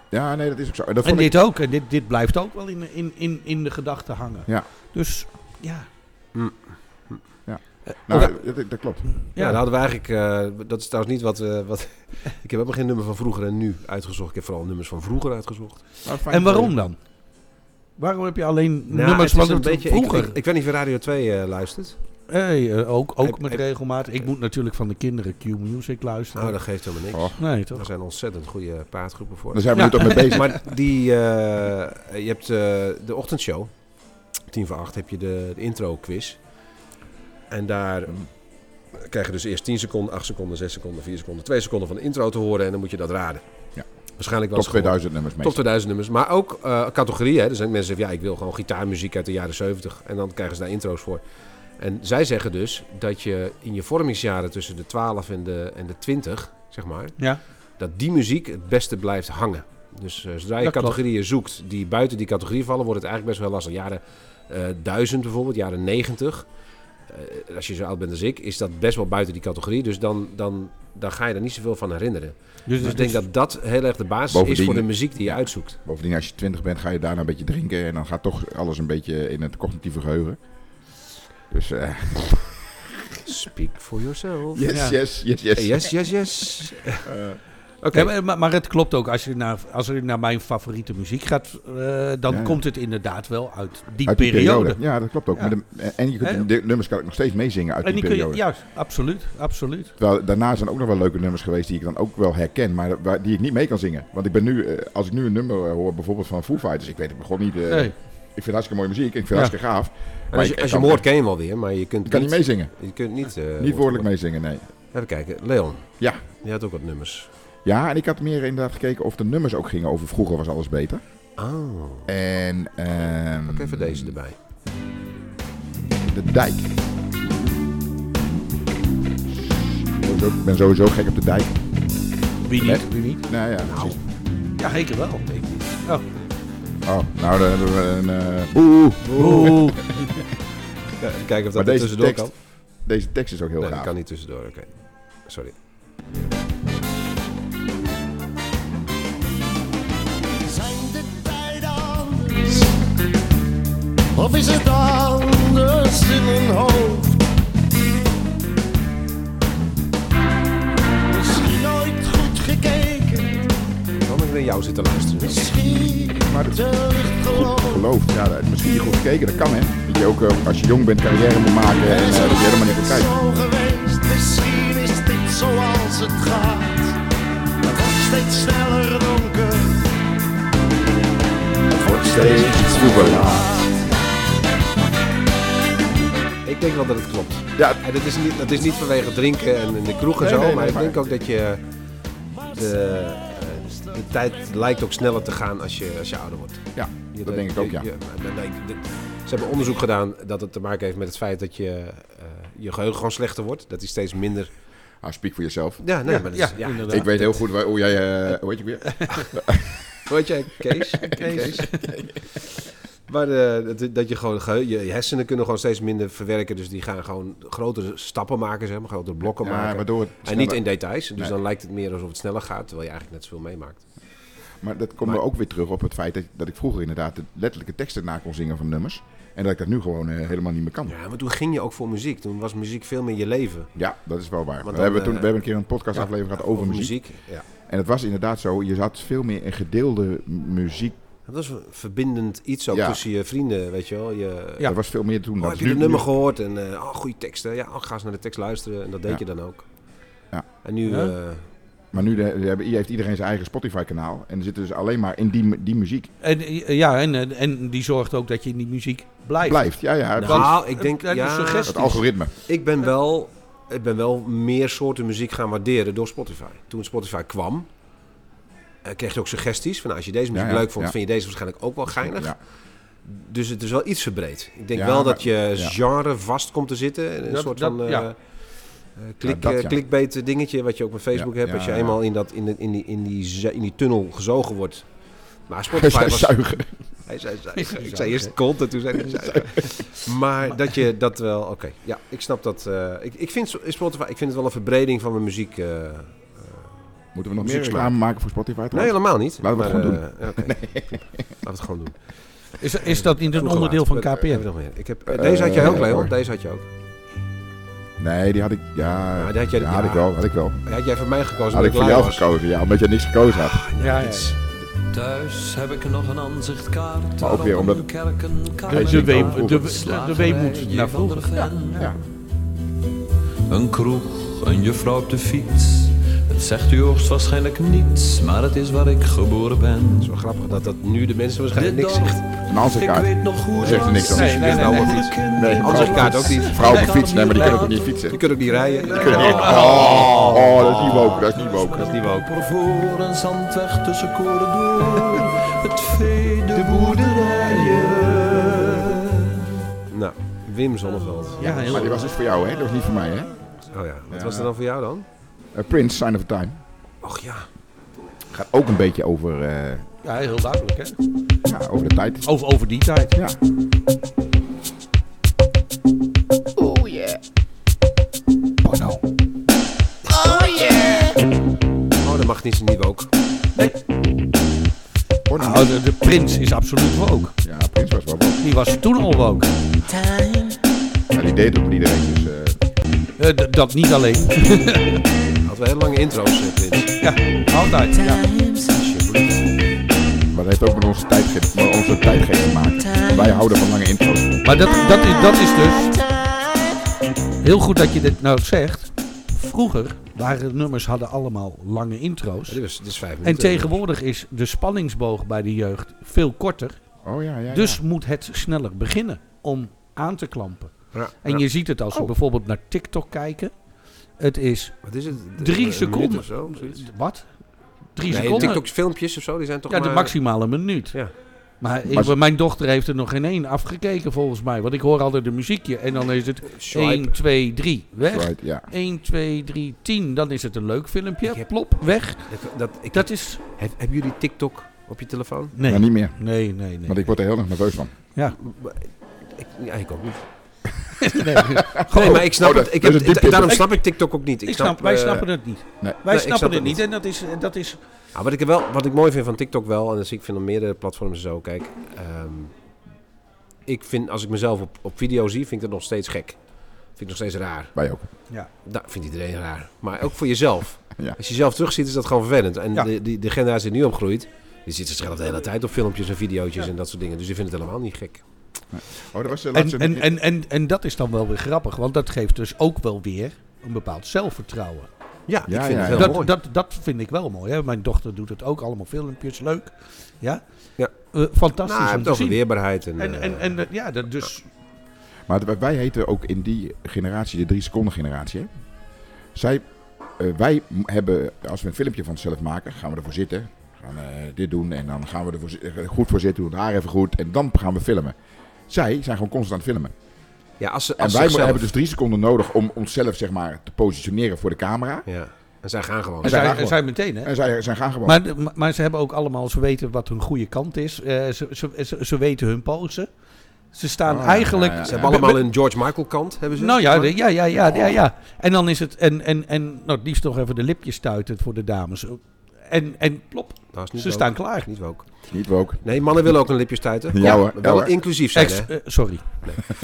[SPEAKER 1] ja, nee, dat is ook zo. En dat
[SPEAKER 3] En
[SPEAKER 1] vond ik...
[SPEAKER 3] dit ook. En dit, dit blijft ook wel in, in, in, in de gedachten hangen.
[SPEAKER 1] Ja.
[SPEAKER 3] Dus, ja.
[SPEAKER 2] Mm.
[SPEAKER 1] Ja.
[SPEAKER 3] Eh,
[SPEAKER 1] Nou,
[SPEAKER 3] of-
[SPEAKER 1] dat- dat, dat klopt.
[SPEAKER 2] Ja,
[SPEAKER 3] ja.
[SPEAKER 2] dan hadden we eigenlijk... eh, dat is trouwens niet wat, eh, wat... <laughs> Ik heb helemaal geen nummer van vroeger en nu uitgezocht. Ik heb vooral nummers van vroeger uitgezocht.
[SPEAKER 1] Nou, fijn.
[SPEAKER 3] En waarom dan? Waarom heb je alleen
[SPEAKER 2] Nou,
[SPEAKER 3] nummers
[SPEAKER 2] het is
[SPEAKER 3] van
[SPEAKER 2] een beetje- ik-
[SPEAKER 3] vroeger?
[SPEAKER 2] Ik, ik, weet niet of je Radio 2 eh, luistert.
[SPEAKER 3] Hey, eh, ook ook
[SPEAKER 2] Heb-
[SPEAKER 3] met
[SPEAKER 2] heb-
[SPEAKER 3] regelmaat. Ik moet natuurlijk van de kinderen Q-Music luisteren.
[SPEAKER 2] Nou, dat geeft helemaal niks.
[SPEAKER 1] Oh.
[SPEAKER 3] Nee,
[SPEAKER 2] Er
[SPEAKER 3] toch?
[SPEAKER 2] zijn ontzettend goede paardgroepen voor.
[SPEAKER 1] Daar zijn we
[SPEAKER 3] Ja.
[SPEAKER 1] nu toch mee
[SPEAKER 3] <laughs>
[SPEAKER 1] bezig.
[SPEAKER 2] Maar die, eh, je hebt eh, de ochtendshow. 10 voor 8 heb je de, de intro quiz. En daar krijg je dus eerst 10 seconden, 8 seconden, 6 seconden, 4 seconden, 2 seconden van de intro te horen. En dan moet je dat raden.
[SPEAKER 1] Ja.
[SPEAKER 2] Waarschijnlijk wel
[SPEAKER 1] Top
[SPEAKER 2] eens gehoord.
[SPEAKER 1] 2000 nummers mee.
[SPEAKER 2] Top 2000 nummers. Maar ook eh, categorieën. Hè. Er zijn mensen die zeggen, ja, ik wil gewoon gitaarmuziek uit de jaren 70. En dan krijgen ze daar intro's voor. En zij zeggen dus dat je in je vormingsjaren tussen de 12 en de, en de 20, zeg maar,
[SPEAKER 3] Ja.
[SPEAKER 2] dat die muziek het beste blijft hangen. Dus eh, zodra je
[SPEAKER 3] Dat klopt.
[SPEAKER 2] categorieën zoekt die buiten die categorie vallen, wordt het eigenlijk best wel lastig. Jaren eh, duizend 1000 bijvoorbeeld, jaren 90. eh, als je zo oud bent als ik, is dat best wel buiten die categorie. Dus dan, dan, dan ga je er niet zoveel van herinneren.
[SPEAKER 3] Dus,
[SPEAKER 2] Dus ik denk dat dat heel erg de basis is
[SPEAKER 1] Bovendien-
[SPEAKER 2] voor de muziek die je uitzoekt.
[SPEAKER 1] Bovendien, als je twintig bent, ga je daarna een beetje drinken. En dan gaat toch alles een beetje in het cognitieve geheugen. Dus eh,
[SPEAKER 2] Speak for yourself.
[SPEAKER 1] yes,
[SPEAKER 3] Ja.
[SPEAKER 1] yes, yes, yes,
[SPEAKER 2] Eh, Yes, yes, yes. Oké,
[SPEAKER 3] Ja, maar- maar, maar het klopt ook. Als je naar, als je naar mijn favoriete muziek gaat, eh, dan
[SPEAKER 1] Ja.
[SPEAKER 3] komt het inderdaad wel uit die
[SPEAKER 1] Uit die
[SPEAKER 3] periode.
[SPEAKER 1] periode. Ja, dat klopt ook.
[SPEAKER 3] Ja.
[SPEAKER 1] Met een- en je kunt, de nummers kan ik nog steeds meezingen uit
[SPEAKER 3] En
[SPEAKER 1] die
[SPEAKER 3] die kun
[SPEAKER 1] periode.
[SPEAKER 3] je, juist, absoluut, absoluut.
[SPEAKER 1] Terwijl daarna zijn ook nog wel leuke nummers geweest die ik dan ook wel herken, maar waar- die ik niet mee kan zingen. Want ik ben nu, eh, als ik nu een nummer eh, hoor, bijvoorbeeld van Foo Fighters, ik weet het begon niet. eh,
[SPEAKER 3] Nee.
[SPEAKER 1] Ik vind het hartstikke mooie muziek, ik vind het
[SPEAKER 3] Ja.
[SPEAKER 1] hartstikke gaaf.
[SPEAKER 2] En als je,
[SPEAKER 1] ik-
[SPEAKER 2] als je
[SPEAKER 1] ik
[SPEAKER 2] hem hoort ken je hem alweer, maar je kunt
[SPEAKER 1] Ik kan niet meezingen,
[SPEAKER 2] Je kunt niet... eh,
[SPEAKER 1] niet
[SPEAKER 2] woord-
[SPEAKER 1] woordelijk meezingen, nee.
[SPEAKER 2] Even kijken, Leon.
[SPEAKER 1] Ja.
[SPEAKER 2] Je had ook wat nummers.
[SPEAKER 1] Ja, en ik had meer inderdaad gekeken of de nummers ook gingen over vroeger was alles beter.
[SPEAKER 2] Oh,
[SPEAKER 1] En ehm,
[SPEAKER 2] pak even deze erbij.
[SPEAKER 1] De dijk. Sowieso- Ik ben sowieso gek op de dijk.
[SPEAKER 3] Wie niet? Wie niet?
[SPEAKER 1] Nou ja, precies.
[SPEAKER 3] Ja, zeker wel. Oh.
[SPEAKER 1] Oh, nou dan hebben we een eh, boe.
[SPEAKER 3] Oeh.
[SPEAKER 2] Ja, even kijken
[SPEAKER 1] Maar
[SPEAKER 2] of dat er
[SPEAKER 1] deze
[SPEAKER 2] tussendoor
[SPEAKER 1] tekst,
[SPEAKER 2] kan.
[SPEAKER 1] deze tekst is ook heel
[SPEAKER 2] Nee, dat
[SPEAKER 1] gaaf.
[SPEAKER 2] kan niet tussendoor, oké. Sorry.
[SPEAKER 6] Zijn de tijden anders? Of is het anders in mijn hoofd? Misschien nooit goed gekeken,
[SPEAKER 2] Dan ben ik naar jou zitten luisteren.
[SPEAKER 6] misschien te licht geloofd.
[SPEAKER 1] gelooft. Ja, dat- misschien niet goed gekeken, dat kan hè. Dat je ook eh, als je jong bent carrière moet maken en
[SPEAKER 6] En
[SPEAKER 1] eh,
[SPEAKER 6] zo
[SPEAKER 1] dat je helemaal niet
[SPEAKER 6] is
[SPEAKER 1] goed
[SPEAKER 6] het
[SPEAKER 1] kijkt.
[SPEAKER 6] zo geweest, misschien is dit zoals het gaat. Het wordt steeds sneller donker. Het wordt
[SPEAKER 1] Steeds
[SPEAKER 2] Ik denk wel dat het klopt.
[SPEAKER 1] Ja,
[SPEAKER 2] En dat is niet, dat is niet vanwege drinken en in de kroeg en
[SPEAKER 1] Nee,
[SPEAKER 2] zo,
[SPEAKER 1] nee, nee,
[SPEAKER 2] maar ik
[SPEAKER 1] maar-
[SPEAKER 2] denk ook dat je... De, eh, de tijd lijkt ook sneller te gaan als je, als je ouder wordt.
[SPEAKER 1] ja
[SPEAKER 2] Je-
[SPEAKER 1] dat denk ik ook,
[SPEAKER 2] je-
[SPEAKER 1] ja.
[SPEAKER 2] je- maar dat- ik- dit- ze hebben onderzoek gedaan dat het te maken heeft met het feit dat je eh, je geheugen gewoon slechter wordt. Dat hij steeds minder...
[SPEAKER 1] Ah, speak voor jezelf.
[SPEAKER 2] Ja, nee,
[SPEAKER 3] Ja,
[SPEAKER 2] maar dat
[SPEAKER 3] ja,
[SPEAKER 2] is, ja,
[SPEAKER 3] inderdaad.
[SPEAKER 1] Ik weet heel goed waar... Oh, jij... eh, hoe heet je ook weer?
[SPEAKER 2] Weet jij, Kees?
[SPEAKER 1] <laughs>
[SPEAKER 2] Kees. Maar eh, dat, dat je gewoon geheu- je hersenen kunnen gewoon steeds minder verwerken, dus die gaan gewoon grotere stappen maken, zeg maar, grotere blokken
[SPEAKER 1] Ja,
[SPEAKER 2] maken.
[SPEAKER 1] waardoor het
[SPEAKER 2] En
[SPEAKER 1] sneller-
[SPEAKER 2] niet in details, dus
[SPEAKER 1] Nee.
[SPEAKER 2] dan lijkt het meer alsof het sneller gaat, terwijl je eigenlijk net zoveel meemaakt.
[SPEAKER 1] Maar dat komt
[SPEAKER 2] Maar-
[SPEAKER 1] er ook weer terug op het feit dat, dat ik vroeger inderdaad de letterlijke teksten na kon zingen van nummers. En dat ik dat nu gewoon eh, helemaal niet meer kan. Ja,
[SPEAKER 2] Ja, maar toen ging je ook voor muziek. Toen was muziek veel meer je leven.
[SPEAKER 1] dat is wel waar.
[SPEAKER 2] dan,
[SPEAKER 1] we, hebben toen,
[SPEAKER 2] eh,
[SPEAKER 1] we hebben een keer een podcastaflevering gehad over, muziek.
[SPEAKER 2] Ja.
[SPEAKER 1] En het was inderdaad zo, je zat veel meer in gedeelde m- muziek.
[SPEAKER 2] Dat was een verbindend iets ook
[SPEAKER 1] Ja.
[SPEAKER 2] tussen je vrienden, weet je wel. Je,
[SPEAKER 3] Ja.
[SPEAKER 1] Dat was veel meer toen.
[SPEAKER 2] Oh,
[SPEAKER 1] dan
[SPEAKER 2] heb
[SPEAKER 1] nu-
[SPEAKER 2] je de nummer
[SPEAKER 1] nu-
[SPEAKER 2] gehoord en eh oh, goede teksten. Ja, oh, ga eens naar de tekst luisteren. En dat deed
[SPEAKER 1] Ja.
[SPEAKER 2] je dan ook.
[SPEAKER 1] Ja.
[SPEAKER 2] En nu...
[SPEAKER 3] Ja.
[SPEAKER 2] eh,
[SPEAKER 1] Maar nu de- de- hebben- heeft iedereen zijn eigen Spotify-kanaal. En er zitten dus alleen maar in die, mu- die muziek.
[SPEAKER 3] En, eh, ja, en, eh, en die zorgt ook dat je in die muziek blijft.
[SPEAKER 1] Blijft, ja, ja.
[SPEAKER 2] Nou,
[SPEAKER 1] precies.
[SPEAKER 2] ik denk,
[SPEAKER 3] eh, de
[SPEAKER 2] ja,
[SPEAKER 3] suggestie.
[SPEAKER 1] het algoritme.
[SPEAKER 2] ik ben wel, ik ben wel meer soorten muziek gaan waarderen door Spotify. Toen Spotify kwam, eh, kreeg je ook suggesties van nou, als je deze muziek
[SPEAKER 1] Ja, ja,
[SPEAKER 2] leuk vond,
[SPEAKER 1] ja.
[SPEAKER 2] vind je deze waarschijnlijk ook wel geinig.
[SPEAKER 1] Ja.
[SPEAKER 2] Dus het is wel iets verbreed. Ik denk
[SPEAKER 1] Ja,
[SPEAKER 2] wel
[SPEAKER 1] maar-
[SPEAKER 2] dat je
[SPEAKER 1] ja.
[SPEAKER 2] genre vast komt te zitten. Een
[SPEAKER 3] Dat-
[SPEAKER 2] soort
[SPEAKER 3] dat-
[SPEAKER 2] van eh
[SPEAKER 3] ja.
[SPEAKER 2] eh, klik,
[SPEAKER 1] Ja, dat,
[SPEAKER 2] eh,
[SPEAKER 1] ja.
[SPEAKER 2] clickbait dingetje wat je ook met Facebook
[SPEAKER 1] Ja,
[SPEAKER 2] hebt. als
[SPEAKER 1] ja,
[SPEAKER 2] je
[SPEAKER 1] ja.
[SPEAKER 2] eenmaal in, dat, in, de- in, die, in, die, zu- in die tunnel gezogen wordt.
[SPEAKER 1] <laughs>
[SPEAKER 2] Maar Spotify
[SPEAKER 1] Zij
[SPEAKER 2] was,
[SPEAKER 1] zuigen.
[SPEAKER 2] Hij zei,
[SPEAKER 1] <laughs>
[SPEAKER 2] zei- ik zei eerst content, toen zei hij zuigen. Maar dat je dat wel... Oké, ja, ik snap dat. eh, ik, ik, vind Spotify, ik vind het wel een verbreding van mijn muziek. eh.
[SPEAKER 1] Moeten we nog meer
[SPEAKER 2] Muziek
[SPEAKER 1] reclame maken voor Spotify?
[SPEAKER 2] nee,
[SPEAKER 1] trouwens?
[SPEAKER 2] helemaal niet.
[SPEAKER 1] Laten we het gewoon
[SPEAKER 2] doen.
[SPEAKER 1] <laughs>
[SPEAKER 2] Laten we het gewoon doen.
[SPEAKER 3] Is, is dat niet een
[SPEAKER 2] Vroeger
[SPEAKER 3] onderdeel van
[SPEAKER 2] laat. Wat, eh, heb
[SPEAKER 3] KPN?
[SPEAKER 2] je nog meer? Ik heb, eh, deze had jij ook,
[SPEAKER 1] Eh,
[SPEAKER 2] Leon.
[SPEAKER 1] hoor.
[SPEAKER 2] Deze had je ook.
[SPEAKER 1] Nee, die had ik. Ja,
[SPEAKER 2] Ja, die had jij-
[SPEAKER 1] ja, had
[SPEAKER 2] ja.
[SPEAKER 1] ik wel. Had ik wel.
[SPEAKER 2] Had jij voor mij gekozen?
[SPEAKER 1] Had ik
[SPEAKER 2] omdat
[SPEAKER 1] voor
[SPEAKER 2] lui
[SPEAKER 1] jou
[SPEAKER 2] was?
[SPEAKER 1] gekozen, ja, omdat je niks gekozen had.
[SPEAKER 3] Ja, ja.
[SPEAKER 2] Iets.
[SPEAKER 7] Thuis heb ik nog een aanzichtkaart.
[SPEAKER 1] Maar ook weer omdat-
[SPEAKER 7] Kerken,
[SPEAKER 1] Weet
[SPEAKER 3] De,
[SPEAKER 1] je,
[SPEAKER 3] wee,
[SPEAKER 1] vroeger.
[SPEAKER 3] de, de, de weemoed naar vroeger. Ja.
[SPEAKER 1] Ja.
[SPEAKER 7] Een kroeg, een juffrouw op de fiets. Het zegt u hoogstwaarschijnlijk niets, maar het is waar ik geboren ben.
[SPEAKER 2] Zo grappig dat dat nu de mensen waarschijnlijk
[SPEAKER 7] Dit
[SPEAKER 2] niks
[SPEAKER 7] dorp,
[SPEAKER 2] zegt.
[SPEAKER 1] Een ansichtkaart.
[SPEAKER 7] weet nog hoe
[SPEAKER 1] Zegt er niks
[SPEAKER 7] was.
[SPEAKER 1] anders.
[SPEAKER 3] Nee, nee, nee,
[SPEAKER 7] Oude
[SPEAKER 3] nee.
[SPEAKER 7] fiets.
[SPEAKER 1] Nee,
[SPEAKER 2] Ansichtkaart ook niet.
[SPEAKER 1] Vrouw op de fiets, nee, maar die kunnen ook niet fietsen.
[SPEAKER 2] Je kunt ook niet rijden.
[SPEAKER 1] Oh, oh, dat is niet woke, dat is niet woke.
[SPEAKER 2] Dat is niet woke.
[SPEAKER 7] Voor voor een zandweg tussen koren door. Het vee, de boerderijen.
[SPEAKER 2] Nou, Wim Zonneveld.
[SPEAKER 3] Ja, heel
[SPEAKER 1] Maar die was dus voor jou, hè? Dat was niet voor mij, hè?
[SPEAKER 2] Oh ja, wat was dat dan voor jou dan?
[SPEAKER 1] Eh, Prince, Sign of Time.
[SPEAKER 2] Ach ja.
[SPEAKER 1] Gaat ook een beetje over, eh,
[SPEAKER 3] Ja, heel duidelijk hè.
[SPEAKER 1] ja, over de tijd.
[SPEAKER 3] Over, over die tijd.
[SPEAKER 1] Ja.
[SPEAKER 8] Oh yeah.
[SPEAKER 1] Porno.
[SPEAKER 2] nou.
[SPEAKER 8] Oh yeah.
[SPEAKER 2] Oh, dat mag niet, niet ook.
[SPEAKER 1] Porno.
[SPEAKER 3] Nou, de, de prins is absoluut woke.
[SPEAKER 1] Ja, Prins was wel wat.
[SPEAKER 3] Die was toen al woke.
[SPEAKER 1] Ja, die deed het met iedereen. Dus, eh,
[SPEAKER 3] Eh, d- dat niet alleen.
[SPEAKER 2] Had wel heel lange intro's, eh, Prins.
[SPEAKER 3] ja, altijd. Ja.
[SPEAKER 1] maar dat heeft ook met onze tijdgeest, met onze tijdgeest te maken. Wij houden van lange intro's.
[SPEAKER 3] Maar dat, dat, is, dat is dus... Heel goed dat je dit nou zegt. Vroeger waren de nummers hadden allemaal lange intro's.
[SPEAKER 2] Dit is, dit is vijf minuten.
[SPEAKER 3] En tegenwoordig is de spanningsboog bij de jeugd veel korter.
[SPEAKER 1] Oh ja, ja. ja.
[SPEAKER 3] Dus moet het sneller beginnen om aan te klampen.
[SPEAKER 2] Ja,
[SPEAKER 3] En
[SPEAKER 2] ja. Oh.
[SPEAKER 3] je ziet het als we bijvoorbeeld naar TikTok kijken. Het is
[SPEAKER 2] Wat is het?
[SPEAKER 3] drie
[SPEAKER 2] Een minuut
[SPEAKER 3] seconden.
[SPEAKER 2] of zo, zoiets?
[SPEAKER 3] wat? Drie
[SPEAKER 2] Nee,
[SPEAKER 3] seconden.
[SPEAKER 2] TikTok-filmpjes of zo, die zijn toch
[SPEAKER 3] ja,
[SPEAKER 2] maar...
[SPEAKER 3] de maximale minuut.
[SPEAKER 2] Ja.
[SPEAKER 3] Maar, ik-
[SPEAKER 1] Maar ze-
[SPEAKER 3] mijn dochter heeft er nog geen één afgekeken volgens mij. Want ik hoor altijd een muziekje en dan is het
[SPEAKER 2] eh, Swipe.
[SPEAKER 3] 1, 2, 3, weg.
[SPEAKER 1] Right, ja.
[SPEAKER 3] 1, 2, 3, 10. Dan is het een leuk filmpje.
[SPEAKER 2] Ik heb-
[SPEAKER 3] Plop, weg.
[SPEAKER 2] Dat, dat, ik,
[SPEAKER 3] Dat is...
[SPEAKER 2] heb, hebben jullie TikTok op je telefoon?
[SPEAKER 3] Nee,
[SPEAKER 1] Maar Nou, niet meer.
[SPEAKER 3] nee, nee. nee.
[SPEAKER 1] Want ik word er heel erg nerveus van.
[SPEAKER 2] Ik, ja, ik ook niet.
[SPEAKER 3] <laughs> Nee.
[SPEAKER 2] Nee, maar ik snap
[SPEAKER 1] Oh, dat-
[SPEAKER 2] het. Ik
[SPEAKER 1] dat is
[SPEAKER 2] heb,
[SPEAKER 1] een diep
[SPEAKER 2] daarom
[SPEAKER 3] punt.
[SPEAKER 2] snap ik TikTok ook niet. Ik,
[SPEAKER 3] Ik snap, wij
[SPEAKER 2] eh,
[SPEAKER 3] snappen het niet.
[SPEAKER 1] nee.
[SPEAKER 3] Wij
[SPEAKER 2] Nee, ik
[SPEAKER 3] snappen
[SPEAKER 2] snap
[SPEAKER 3] het
[SPEAKER 2] het
[SPEAKER 3] niet.
[SPEAKER 2] niet.
[SPEAKER 3] En dat is, dat is
[SPEAKER 2] Ja, wat, ik er wel, wat ik mooi vind van TikTok wel, en dat zie ik vind op meerdere platforms en zo, kijk. ehm, ik vind, als ik mezelf op, op video zie, vind ik dat nog steeds gek. Vind ik nog steeds raar.
[SPEAKER 1] Wij ook.
[SPEAKER 2] Dat vindt iedereen raar. Maar ook voor jezelf.
[SPEAKER 1] <laughs> Ja.
[SPEAKER 2] Als je zelf terugziet, is dat gewoon vervelend. En
[SPEAKER 3] Ja.
[SPEAKER 2] de, die, de generatie die nu opgroeit, die zit zichzelf de hele tijd op filmpjes en videootjes en dat soort dingen. Dus die vindt het helemaal niet gek.
[SPEAKER 1] Oh, dat was de
[SPEAKER 3] En,
[SPEAKER 1] laatste.
[SPEAKER 3] en, en, en, en dat is dan wel weer grappig, want dat geeft dus ook wel weer een bepaald zelfvertrouwen.
[SPEAKER 2] Ja,
[SPEAKER 1] Ja,
[SPEAKER 2] ik vind
[SPEAKER 1] ja,
[SPEAKER 2] het
[SPEAKER 1] ja.
[SPEAKER 2] heel
[SPEAKER 3] Dat,
[SPEAKER 2] mooi.
[SPEAKER 3] dat, dat vind ik wel mooi. Hè? Mijn dochter doet het ook, allemaal filmpjes, leuk. Ja?
[SPEAKER 2] Ja.
[SPEAKER 3] Eh, fantastisch
[SPEAKER 2] nou, je hebt
[SPEAKER 3] om te
[SPEAKER 2] over
[SPEAKER 3] zien.
[SPEAKER 2] weerbaarheid. En,
[SPEAKER 3] En, en,
[SPEAKER 2] eh,
[SPEAKER 3] en eh, ja, dat dus...
[SPEAKER 1] Maar wij- wij heten ook in die generatie de drie seconden generatie. Hè? Zij, eh, wij m- hebben, als we een filmpje van onszelf maken, gaan we ervoor zitten. Gaan eh, dit doen en dan gaan we er voor zi- eh, goed voor zitten, doen het haar even goed. En dan gaan we filmen. Zij zijn gewoon constant aan het filmen.
[SPEAKER 2] ja, als, ze-
[SPEAKER 1] En
[SPEAKER 2] als
[SPEAKER 1] wij mo-
[SPEAKER 2] zichzelf-
[SPEAKER 1] hebben dus drie seconden nodig om onszelf zeg maar, te positioneren voor de camera.
[SPEAKER 2] Ja, en zij gaan gewoon.
[SPEAKER 3] En
[SPEAKER 1] zij
[SPEAKER 3] zij,
[SPEAKER 1] gaan gewoon.
[SPEAKER 3] en zij meteen, hè?
[SPEAKER 1] En zij, zij gaan gewoon.
[SPEAKER 3] Maar, de- maar- maar ze hebben ook allemaal, ze weten wat hun goede kant is. Eh, ze, ze, ze, ze weten hun pose. Ze staan
[SPEAKER 1] Oh, ja,
[SPEAKER 3] eigenlijk...
[SPEAKER 1] ja, ja.
[SPEAKER 2] Ze hebben
[SPEAKER 3] Be- be-
[SPEAKER 2] allemaal een George Michael kant, hebben ze.
[SPEAKER 3] Nou ja,
[SPEAKER 2] zeg maar. Oh.
[SPEAKER 3] de- ja, ja, ja, ja, ja. En dan is het, en, en, en nou, het liefst nog even de lipjes stuiten voor de dames. En, en plop,
[SPEAKER 2] Dat Nou, is niet
[SPEAKER 3] ze
[SPEAKER 2] woke.
[SPEAKER 3] staan klaar.
[SPEAKER 2] Niet woke.
[SPEAKER 1] Niet we ook.
[SPEAKER 2] Nee, mannen willen ook een lipje stuiten.
[SPEAKER 1] Ja,
[SPEAKER 2] Maar
[SPEAKER 1] hoor, ja,
[SPEAKER 2] Wel
[SPEAKER 1] hoor.
[SPEAKER 2] inclusief zijn,
[SPEAKER 3] Ex,
[SPEAKER 2] hè.
[SPEAKER 3] eh, sorry.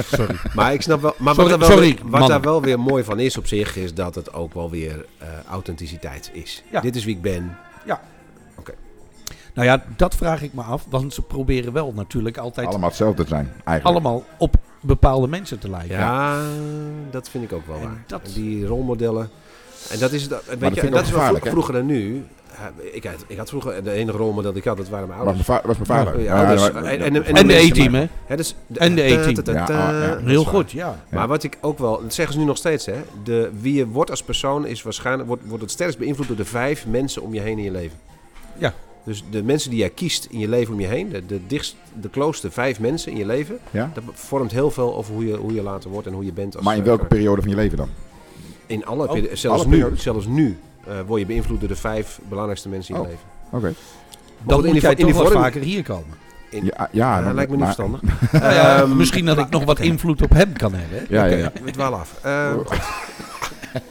[SPEAKER 3] sorry.
[SPEAKER 2] Maar ik snap wel... Maar
[SPEAKER 3] Sorry-
[SPEAKER 2] wat, daar wel,
[SPEAKER 3] sorry,
[SPEAKER 2] weer-
[SPEAKER 3] mannen.
[SPEAKER 2] wat daar wel weer mooi van is op zich, is dat het ook wel weer eh, authenticiteit is.
[SPEAKER 3] Ja.
[SPEAKER 2] Dit is wie ik ben.
[SPEAKER 3] Nou ja, dat vraag ik me af, want ze proberen wel natuurlijk altijd allemaal,
[SPEAKER 1] Allemaal hetzelfde zijn, eigenlijk.
[SPEAKER 3] op bepaalde mensen te lijken.
[SPEAKER 2] Ja, dat vind ik ook wel
[SPEAKER 3] En
[SPEAKER 2] waar.
[SPEAKER 3] dat-
[SPEAKER 2] Die rolmodellen. En dat is, dat, weet
[SPEAKER 1] dat vind
[SPEAKER 2] je, en
[SPEAKER 1] ik
[SPEAKER 2] dat
[SPEAKER 1] ook
[SPEAKER 2] is wel
[SPEAKER 1] gevaarlijk,
[SPEAKER 2] vroeg-
[SPEAKER 1] hè?
[SPEAKER 2] vroeger dan nu. Eh, Ik had, ik had vroeger, de enige rolmodel die ik had, dat waren mijn
[SPEAKER 1] was mijn, va-
[SPEAKER 2] ouders.
[SPEAKER 1] was mijn vader.
[SPEAKER 2] Ja, ouders.
[SPEAKER 1] maar-
[SPEAKER 2] En- en-
[SPEAKER 3] En de
[SPEAKER 2] mensen
[SPEAKER 3] E-team, hè?
[SPEAKER 2] Hè, dus de-
[SPEAKER 3] En de E E-team.
[SPEAKER 2] ta- ta- ta-
[SPEAKER 1] Ja, ja.
[SPEAKER 3] Heel
[SPEAKER 1] is waar.
[SPEAKER 3] goed, ja.
[SPEAKER 2] Maar wat ik ook wel, dat zeggen ze nu nog steeds, hè? De, wie je wordt als persoon is waarschijnlijk, wordt, wordt het sterkst beïnvloed door de vijf mensen om je heen in je leven.
[SPEAKER 3] Ja.
[SPEAKER 2] Dus de mensen die jij kiest in je leven om je heen, de, de, dichtst, de klooste vijf mensen in je leven,
[SPEAKER 1] Ja?
[SPEAKER 2] dat vormt heel veel over hoe je, hoe je later wordt en hoe je bent. Als,
[SPEAKER 1] Maar in
[SPEAKER 2] eh,
[SPEAKER 1] welke
[SPEAKER 2] karakter.
[SPEAKER 1] periode van je leven dan?
[SPEAKER 2] In alle
[SPEAKER 3] Oh,
[SPEAKER 2] peri- zelfs,
[SPEAKER 1] alle
[SPEAKER 2] nu,
[SPEAKER 1] periodes?
[SPEAKER 2] zelfs nu eh, word je beïnvloed door de vijf belangrijkste mensen in je
[SPEAKER 1] Oh.
[SPEAKER 2] leven.
[SPEAKER 1] Oké.
[SPEAKER 3] Dan
[SPEAKER 2] goed, in
[SPEAKER 3] moet
[SPEAKER 2] die
[SPEAKER 3] jij
[SPEAKER 2] vo- in
[SPEAKER 3] toch
[SPEAKER 2] die
[SPEAKER 3] wat
[SPEAKER 2] vorm-
[SPEAKER 3] vaker hier komen.
[SPEAKER 2] In-
[SPEAKER 1] Ja, ja,
[SPEAKER 2] Ja,
[SPEAKER 1] maar-
[SPEAKER 2] dat lijkt me niet
[SPEAKER 1] maar-
[SPEAKER 2] verstandig.
[SPEAKER 3] Nou ja,
[SPEAKER 2] Ehm,
[SPEAKER 3] misschien dat ik nog wat invloed op hem kan hebben. hè?
[SPEAKER 1] Ja, ja, ja.
[SPEAKER 2] We dwalen af. Eh,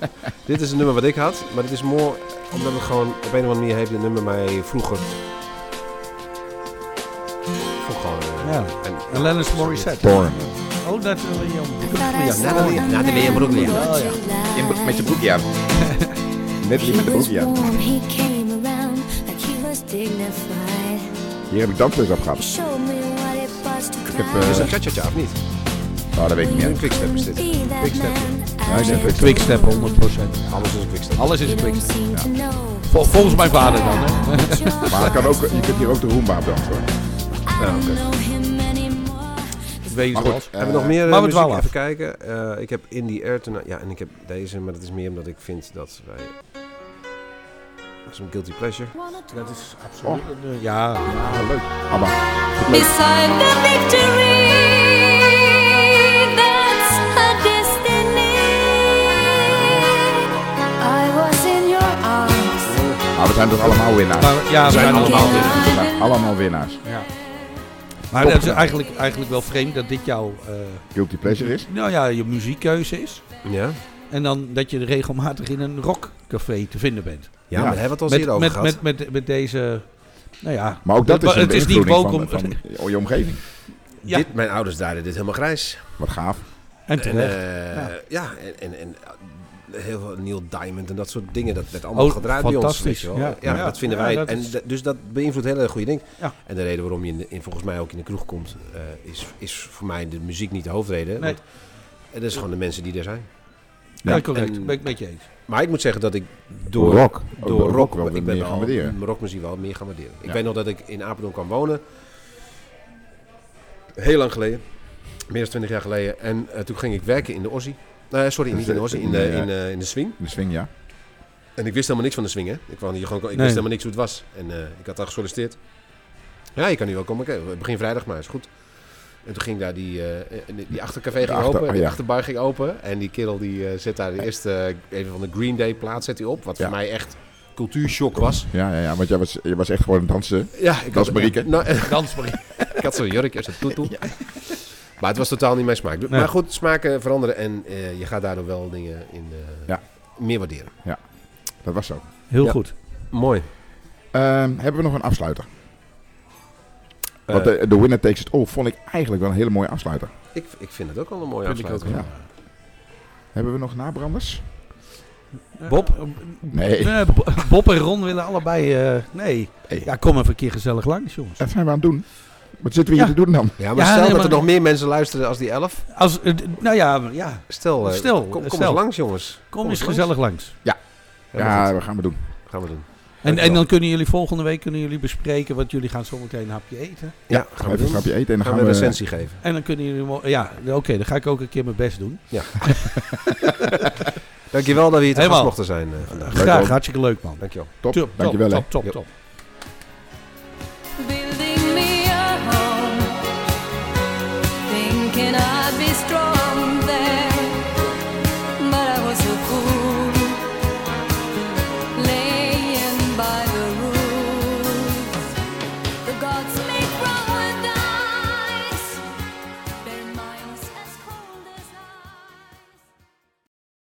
[SPEAKER 2] <laughs> dit is een nummer wat ik had, maar dit is mooi omdat het gewoon op een of andere manier heeft dit nummer mij vroeger. Vond ik gewoon. eh,
[SPEAKER 3] Ja.
[SPEAKER 2] en,
[SPEAKER 3] En Lennis Morissette.
[SPEAKER 1] Porn.
[SPEAKER 3] Oh, dat wil je om.
[SPEAKER 2] Natalie, Natalie en Broekje.
[SPEAKER 3] Oh, ja.
[SPEAKER 1] In broek- met zijn broekje aan. Net niet met de broekje aan. Hier heb ik dansles op gehad. Ik heb... eh
[SPEAKER 2] Is dat cha-cha-cha of niet?
[SPEAKER 1] oh, dat weet ik niet.
[SPEAKER 2] Een
[SPEAKER 1] uit.
[SPEAKER 2] quickstep is dit. Quickstep.
[SPEAKER 1] Ja, ik denk het.
[SPEAKER 3] Quickstep 100%.
[SPEAKER 2] Alles is een quickstep.
[SPEAKER 3] Alles is quickstep. Vol- volgens mijn vader dan. Hè?
[SPEAKER 1] Maar het kan ook, je kunt hier ook de Roomba op dansen hoor.
[SPEAKER 3] Wees
[SPEAKER 1] Maar goed.
[SPEAKER 3] zoals.
[SPEAKER 2] hebben we nog
[SPEAKER 1] eh,
[SPEAKER 2] meer eh,
[SPEAKER 3] maar we
[SPEAKER 2] muziek?
[SPEAKER 3] dwalen af.
[SPEAKER 2] Even kijken. Eh, ik heb In The Air Tonight. Ja, en ik heb deze, maar dat is meer omdat ik vind dat wij... Dat is een guilty pleasure.
[SPEAKER 3] Dat is absoluut. een, eh, Ja,
[SPEAKER 1] Ah, leuk. Abba.
[SPEAKER 9] Beside the victory, that's her destiny.
[SPEAKER 8] I was in your arms.
[SPEAKER 1] Ah, we zijn zijn toch allemaal winnaars?
[SPEAKER 3] Maar- ja, we zijn allemaal
[SPEAKER 1] winnaars. Ja, allemaal winnaars.
[SPEAKER 3] Ja. Maar
[SPEAKER 1] Top
[SPEAKER 3] dat is
[SPEAKER 1] gedaan.
[SPEAKER 3] eigenlijk, eigenlijk wel vreemd dat dit jouw... eh,
[SPEAKER 1] Guilty pleasure is.
[SPEAKER 3] nou ja, je muziekkeuze is.
[SPEAKER 2] Ja,
[SPEAKER 3] En dan dat je regelmatig in een rockcafé te vinden bent.
[SPEAKER 2] ja, maar hebben we het al
[SPEAKER 3] Met,
[SPEAKER 2] eerder over
[SPEAKER 3] met,
[SPEAKER 2] gehad.
[SPEAKER 3] met, met, met deze... Nou ja,
[SPEAKER 1] Maar ook dat is
[SPEAKER 3] Maar
[SPEAKER 1] een
[SPEAKER 3] het is niet
[SPEAKER 1] beïnvloeding
[SPEAKER 3] woke
[SPEAKER 1] van,
[SPEAKER 3] om-
[SPEAKER 1] van je omgeving.
[SPEAKER 3] ja.
[SPEAKER 2] Dit, mijn ouders draaiden dit helemaal grijs.
[SPEAKER 1] Wat gaaf.
[SPEAKER 3] <laughs>
[SPEAKER 2] En,
[SPEAKER 3] en terecht.
[SPEAKER 2] eh, ja. en, en, en eh, heel veel Neil Diamond en dat soort dingen. Dat werd
[SPEAKER 3] Oh,
[SPEAKER 2] allemaal gedraaid bij ons.
[SPEAKER 3] fantastisch,
[SPEAKER 2] Weet je wel.
[SPEAKER 3] ja.
[SPEAKER 2] Ja,
[SPEAKER 3] Ja.
[SPEAKER 2] dat vinden
[SPEAKER 3] Ja,
[SPEAKER 2] wij.
[SPEAKER 3] dat
[SPEAKER 2] en
[SPEAKER 3] is-
[SPEAKER 2] da- dus dat beïnvloedt hele goede dingen.
[SPEAKER 3] Ja.
[SPEAKER 2] En de reden waarom je in, de- in, volgens mij ook in de kroeg komt, eh, is, is voor mij de muziek niet de hoofdreden.
[SPEAKER 3] Nee.
[SPEAKER 2] Want het is gewoon de mensen die er zijn.
[SPEAKER 3] Ja,
[SPEAKER 1] Ja.
[SPEAKER 3] correct.
[SPEAKER 2] En-
[SPEAKER 3] Ben ik met je eens.
[SPEAKER 2] Maar ik moet zeggen dat ik door
[SPEAKER 1] rock.
[SPEAKER 2] door rock,
[SPEAKER 1] wel
[SPEAKER 2] ik
[SPEAKER 1] weer
[SPEAKER 2] ben
[SPEAKER 1] meer gaan
[SPEAKER 2] wel
[SPEAKER 1] waarderen.
[SPEAKER 2] rockmuziek wel meer gaan waarderen. Ik
[SPEAKER 1] Ja.
[SPEAKER 2] weet nog dat ik in Apeldoorn kwam wonen. Heel lang geleden. Meer dan 20 jaar geleden. En eh, toen ging ik werken in de Ossie. Nou, ja, sorry, niet in de Ossie,
[SPEAKER 1] <laughs>
[SPEAKER 2] in de, in, eh, in de Swing.
[SPEAKER 1] In de swing, ja.
[SPEAKER 2] En ik wist helemaal niks van de swing, hè. Ik, kwam hier gewoon, ik
[SPEAKER 3] Nee.
[SPEAKER 2] wist helemaal niks hoe het was. En eh, ik had daar gesolliciteerd. Ja, je kan nu wel komen. Oké, Begin vrijdag maar, is goed. En toen ging daar die, eh, eh, die achtercafé ging
[SPEAKER 1] achter-
[SPEAKER 2] open,
[SPEAKER 1] oh,
[SPEAKER 2] die
[SPEAKER 1] ja.
[SPEAKER 2] achterbar ging open. En die kerel die eh, zet daar de eerste, eh, even van de Green Day plaat zet hij op. Wat
[SPEAKER 1] Ja.
[SPEAKER 2] voor mij echt cultuurshock was.
[SPEAKER 1] Ja, ja, ja. Want jij was, je was echt gewoon een dansen.
[SPEAKER 2] Ja, ik
[SPEAKER 1] Dat is Marieke.
[SPEAKER 2] Nou, <laughs>
[SPEAKER 3] Dans maar.
[SPEAKER 2] ik had zo'n jurk en zo'n toetoe. Maar het was totaal niet mijn smaak. Maar goed, smaken veranderen en eh, je gaat daardoor wel dingen in, eh,
[SPEAKER 1] Ja.
[SPEAKER 2] meer waarderen.
[SPEAKER 1] Dat was zo.
[SPEAKER 3] Heel
[SPEAKER 2] Ja.
[SPEAKER 3] goed.
[SPEAKER 2] Mooi.
[SPEAKER 1] Ehm, hebben we nog een afsluiter?
[SPEAKER 2] Eh,
[SPEAKER 1] Want de, de Winner Takes It All vond ik eigenlijk wel een hele mooie afsluiter.
[SPEAKER 2] ik, ik vind het ook wel een mooie
[SPEAKER 3] Vind ik
[SPEAKER 2] afsluiting.
[SPEAKER 1] ook wel. Hebben we nog nabranders?
[SPEAKER 3] Eh, Bob?
[SPEAKER 1] Nee.
[SPEAKER 3] Eh, Bo- Bob en Ron willen allebei... eh, nee.
[SPEAKER 1] Nee.
[SPEAKER 3] Ja, kom even een keer gezellig langs, jongens.
[SPEAKER 1] Dat zijn we aan het doen. Wat zitten we hier
[SPEAKER 3] Ja.
[SPEAKER 1] te doen dan?
[SPEAKER 2] Ja, maar stel
[SPEAKER 3] Ja, nee,
[SPEAKER 2] dat
[SPEAKER 3] maar-
[SPEAKER 2] er nog meer mensen luisteren als die elf.
[SPEAKER 3] Als, eh, d- nou ja, ja.
[SPEAKER 2] Stel, eh,
[SPEAKER 3] Stel,
[SPEAKER 2] kom, kom
[SPEAKER 3] stel.
[SPEAKER 2] eens langs jongens.
[SPEAKER 3] kom eens
[SPEAKER 2] langs.
[SPEAKER 3] gezellig langs.
[SPEAKER 2] Helemaal
[SPEAKER 1] Ja,
[SPEAKER 2] goed.
[SPEAKER 1] we gaan we doen.
[SPEAKER 2] gaan we doen.
[SPEAKER 3] En, en
[SPEAKER 2] Dankjewel.
[SPEAKER 3] dan kunnen jullie volgende week kunnen jullie bespreken, want jullie gaan zometeen een hapje eten.
[SPEAKER 2] Ja, gaan we
[SPEAKER 1] Even een
[SPEAKER 2] doen.
[SPEAKER 1] grapje eten en dan
[SPEAKER 2] Gaan
[SPEAKER 1] gaan,
[SPEAKER 2] we een
[SPEAKER 1] we...
[SPEAKER 2] recensie geven.
[SPEAKER 3] En dan kunnen jullie... mo- Ja, oké, dan ga ik ook een keer mijn best doen.
[SPEAKER 2] Dankjewel dat we hier te
[SPEAKER 3] Helemaal.
[SPEAKER 2] gast mochten zijn eh, vandaag.
[SPEAKER 1] Leuk,
[SPEAKER 3] Graag,
[SPEAKER 1] man.
[SPEAKER 3] hartstikke leuk man.
[SPEAKER 2] Dankjewel.
[SPEAKER 1] Top,
[SPEAKER 3] Top, top,
[SPEAKER 1] dankjewel hè.
[SPEAKER 3] top, top,
[SPEAKER 2] Ja.
[SPEAKER 3] top.